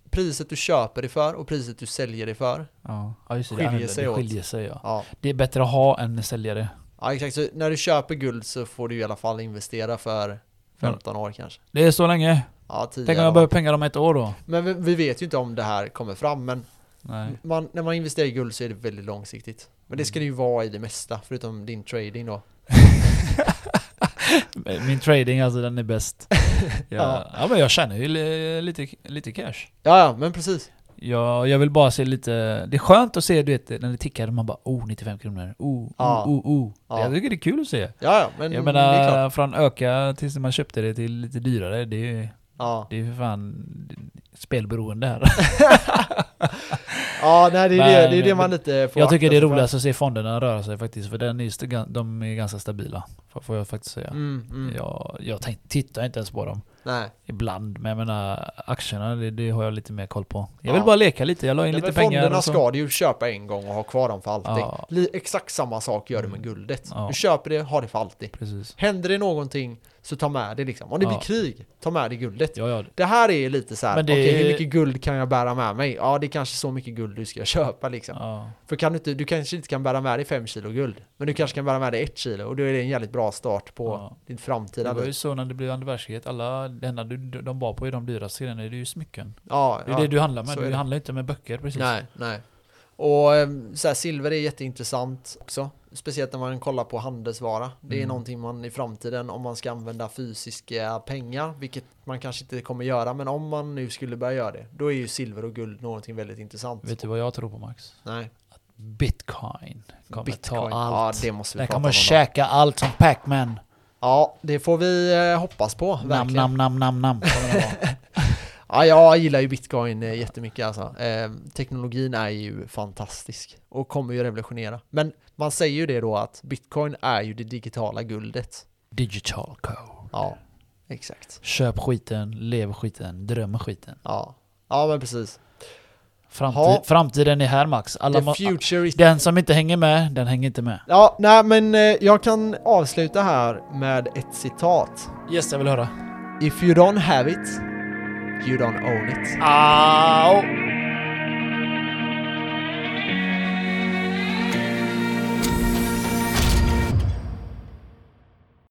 [SPEAKER 1] priset du köper det för och priset du säljer det för.
[SPEAKER 2] Ja, ja just det.
[SPEAKER 1] Skiljer
[SPEAKER 2] det händer.
[SPEAKER 1] sig
[SPEAKER 2] det
[SPEAKER 1] åt.
[SPEAKER 2] skiljer sig ja.
[SPEAKER 1] Ja.
[SPEAKER 2] Det är bättre att ha än att sälja det.
[SPEAKER 1] ja, exakt. Så när du köper guld så får du i alla fall investera för 15 år kanske.
[SPEAKER 2] Det är så länge.
[SPEAKER 1] Ja, 10
[SPEAKER 2] Tänk om jag
[SPEAKER 1] eller vad.
[SPEAKER 2] behöver pengar om ett år då?
[SPEAKER 1] Men vi, vi vet ju inte om det här kommer fram, men
[SPEAKER 2] Nej. Mm.
[SPEAKER 1] man, när man investerar i guld så är det väldigt långsiktigt. Men det ska det ju vara i det mesta, förutom din trading då.
[SPEAKER 2] Min trading alltså, den är bäst. ja.
[SPEAKER 1] Ja.
[SPEAKER 2] ja men jag tjänar ju li- lite, lite cash.
[SPEAKER 1] Ja, ja, men precis.
[SPEAKER 2] Jag, jag vill bara se lite... Det är skönt att se du vet, när det tickar, man bara oh 95 kronor, oh,
[SPEAKER 1] Ja.
[SPEAKER 2] oh, oh, oh.
[SPEAKER 1] Ja.
[SPEAKER 2] Jag tycker det är kul att se.
[SPEAKER 1] Ja, ja, men
[SPEAKER 2] Jag
[SPEAKER 1] det är klart.
[SPEAKER 2] menar, från öka tills man köpte det till lite dyrare, det är
[SPEAKER 1] Ja,
[SPEAKER 2] det är för fan spelberoende här.
[SPEAKER 1] ja nej, det, är det, det är det
[SPEAKER 2] Men-
[SPEAKER 1] man lite får
[SPEAKER 2] jag tycker
[SPEAKER 1] akta
[SPEAKER 2] det är
[SPEAKER 1] sig för.
[SPEAKER 2] roligast att se fonderna röra sig faktiskt, för den är, just- de är ganska stabila. får- Får jag faktiskt säga.
[SPEAKER 1] Mm, mm.
[SPEAKER 2] Jag, jag tänk, tittar inte ens på dem.
[SPEAKER 1] Nej.
[SPEAKER 2] Ibland, men jag menar aktierna, det, det har jag lite mer koll på. Jag vill
[SPEAKER 1] Ja.
[SPEAKER 2] bara leka lite, jag la in
[SPEAKER 1] Nej,
[SPEAKER 2] lite
[SPEAKER 1] men
[SPEAKER 2] pengar.
[SPEAKER 1] fonderna
[SPEAKER 2] och så.
[SPEAKER 1] ska du ju köpa en gång och ha kvar dem för alltid.
[SPEAKER 2] Ja. Mm.
[SPEAKER 1] Li- Exakt samma sak gör du med guldet.
[SPEAKER 2] Ja.
[SPEAKER 1] Du köper det, har det för alltid.
[SPEAKER 2] Precis.
[SPEAKER 1] Händer det någonting så ta med det liksom. Om det
[SPEAKER 2] Ja.
[SPEAKER 1] blir krig, ta med dig guldet.
[SPEAKER 2] Ja, ja,
[SPEAKER 1] Det här är lite så här,
[SPEAKER 2] Men det
[SPEAKER 1] okej hur
[SPEAKER 2] är-
[SPEAKER 1] mycket guld kan jag bära med mig? Ja det är kanske så mycket guld du ska köpa liksom.
[SPEAKER 2] ja.
[SPEAKER 1] För kan du, inte, du kanske inte kan bära med dig 5 kilo guld, men du kanske kan bära med dig 1 kilo och då är det en jävligt bra start på
[SPEAKER 2] Ja.
[SPEAKER 1] din framtida
[SPEAKER 2] Det var ju
[SPEAKER 1] liv.
[SPEAKER 2] så när det blev andra världskriget. Alla, det enda du, de bar på i de dyraste grejerna, det är ju smycken.
[SPEAKER 1] Ja,
[SPEAKER 2] Det är
[SPEAKER 1] ja.
[SPEAKER 2] det du handlar med.
[SPEAKER 1] så är
[SPEAKER 2] Du
[SPEAKER 1] det.
[SPEAKER 2] handlar inte med böcker precis.
[SPEAKER 1] Nej, nej. Och ehm, så här, silver är jätteintressant också. Speciellt när man kollar på handelsvara. Det är
[SPEAKER 2] Mm.
[SPEAKER 1] någonting man i framtiden, om man ska använda fysiska pengar, vilket man kanske inte kommer göra, men om man nu skulle börja göra det, då är ju silver och guld någonting väldigt intressant.
[SPEAKER 2] Vet du vad jag tror på Max?
[SPEAKER 1] nej,
[SPEAKER 2] Bitcoin kommer ta
[SPEAKER 1] Ja,
[SPEAKER 2] allt.
[SPEAKER 1] det måste vi
[SPEAKER 2] Den
[SPEAKER 1] prata om.
[SPEAKER 2] kommer
[SPEAKER 1] då.
[SPEAKER 2] käka allt som Pac-Man.
[SPEAKER 1] Ja, det får vi eh, hoppas på.
[SPEAKER 2] Nam,
[SPEAKER 1] Verkligen.
[SPEAKER 2] nam, nam, nam, nam. kommer den vara.
[SPEAKER 1] Ja, jag gillar ju bitcoin eh, jättemycket alltså. Eh, teknologin är ju fantastisk och kommer ju revolutionera. Men man säger ju det då att bitcoin är ju det digitala guldet.
[SPEAKER 2] Digital code.
[SPEAKER 1] Ja, exakt.
[SPEAKER 2] Köp skiten, lev skiten, dröm skiten.
[SPEAKER 1] Ja, ja men precis.
[SPEAKER 2] Framtid,
[SPEAKER 1] Ja.
[SPEAKER 2] framtiden är här Max. Alla
[SPEAKER 1] The
[SPEAKER 2] må-
[SPEAKER 1] future is...
[SPEAKER 2] den som inte hänger med, den hänger inte med.
[SPEAKER 1] Ja, nej men eh, jag kan avsluta här med ett citat.
[SPEAKER 2] Yes, jag vill höra.
[SPEAKER 1] If you don't have it, you don't own it.
[SPEAKER 2] Au!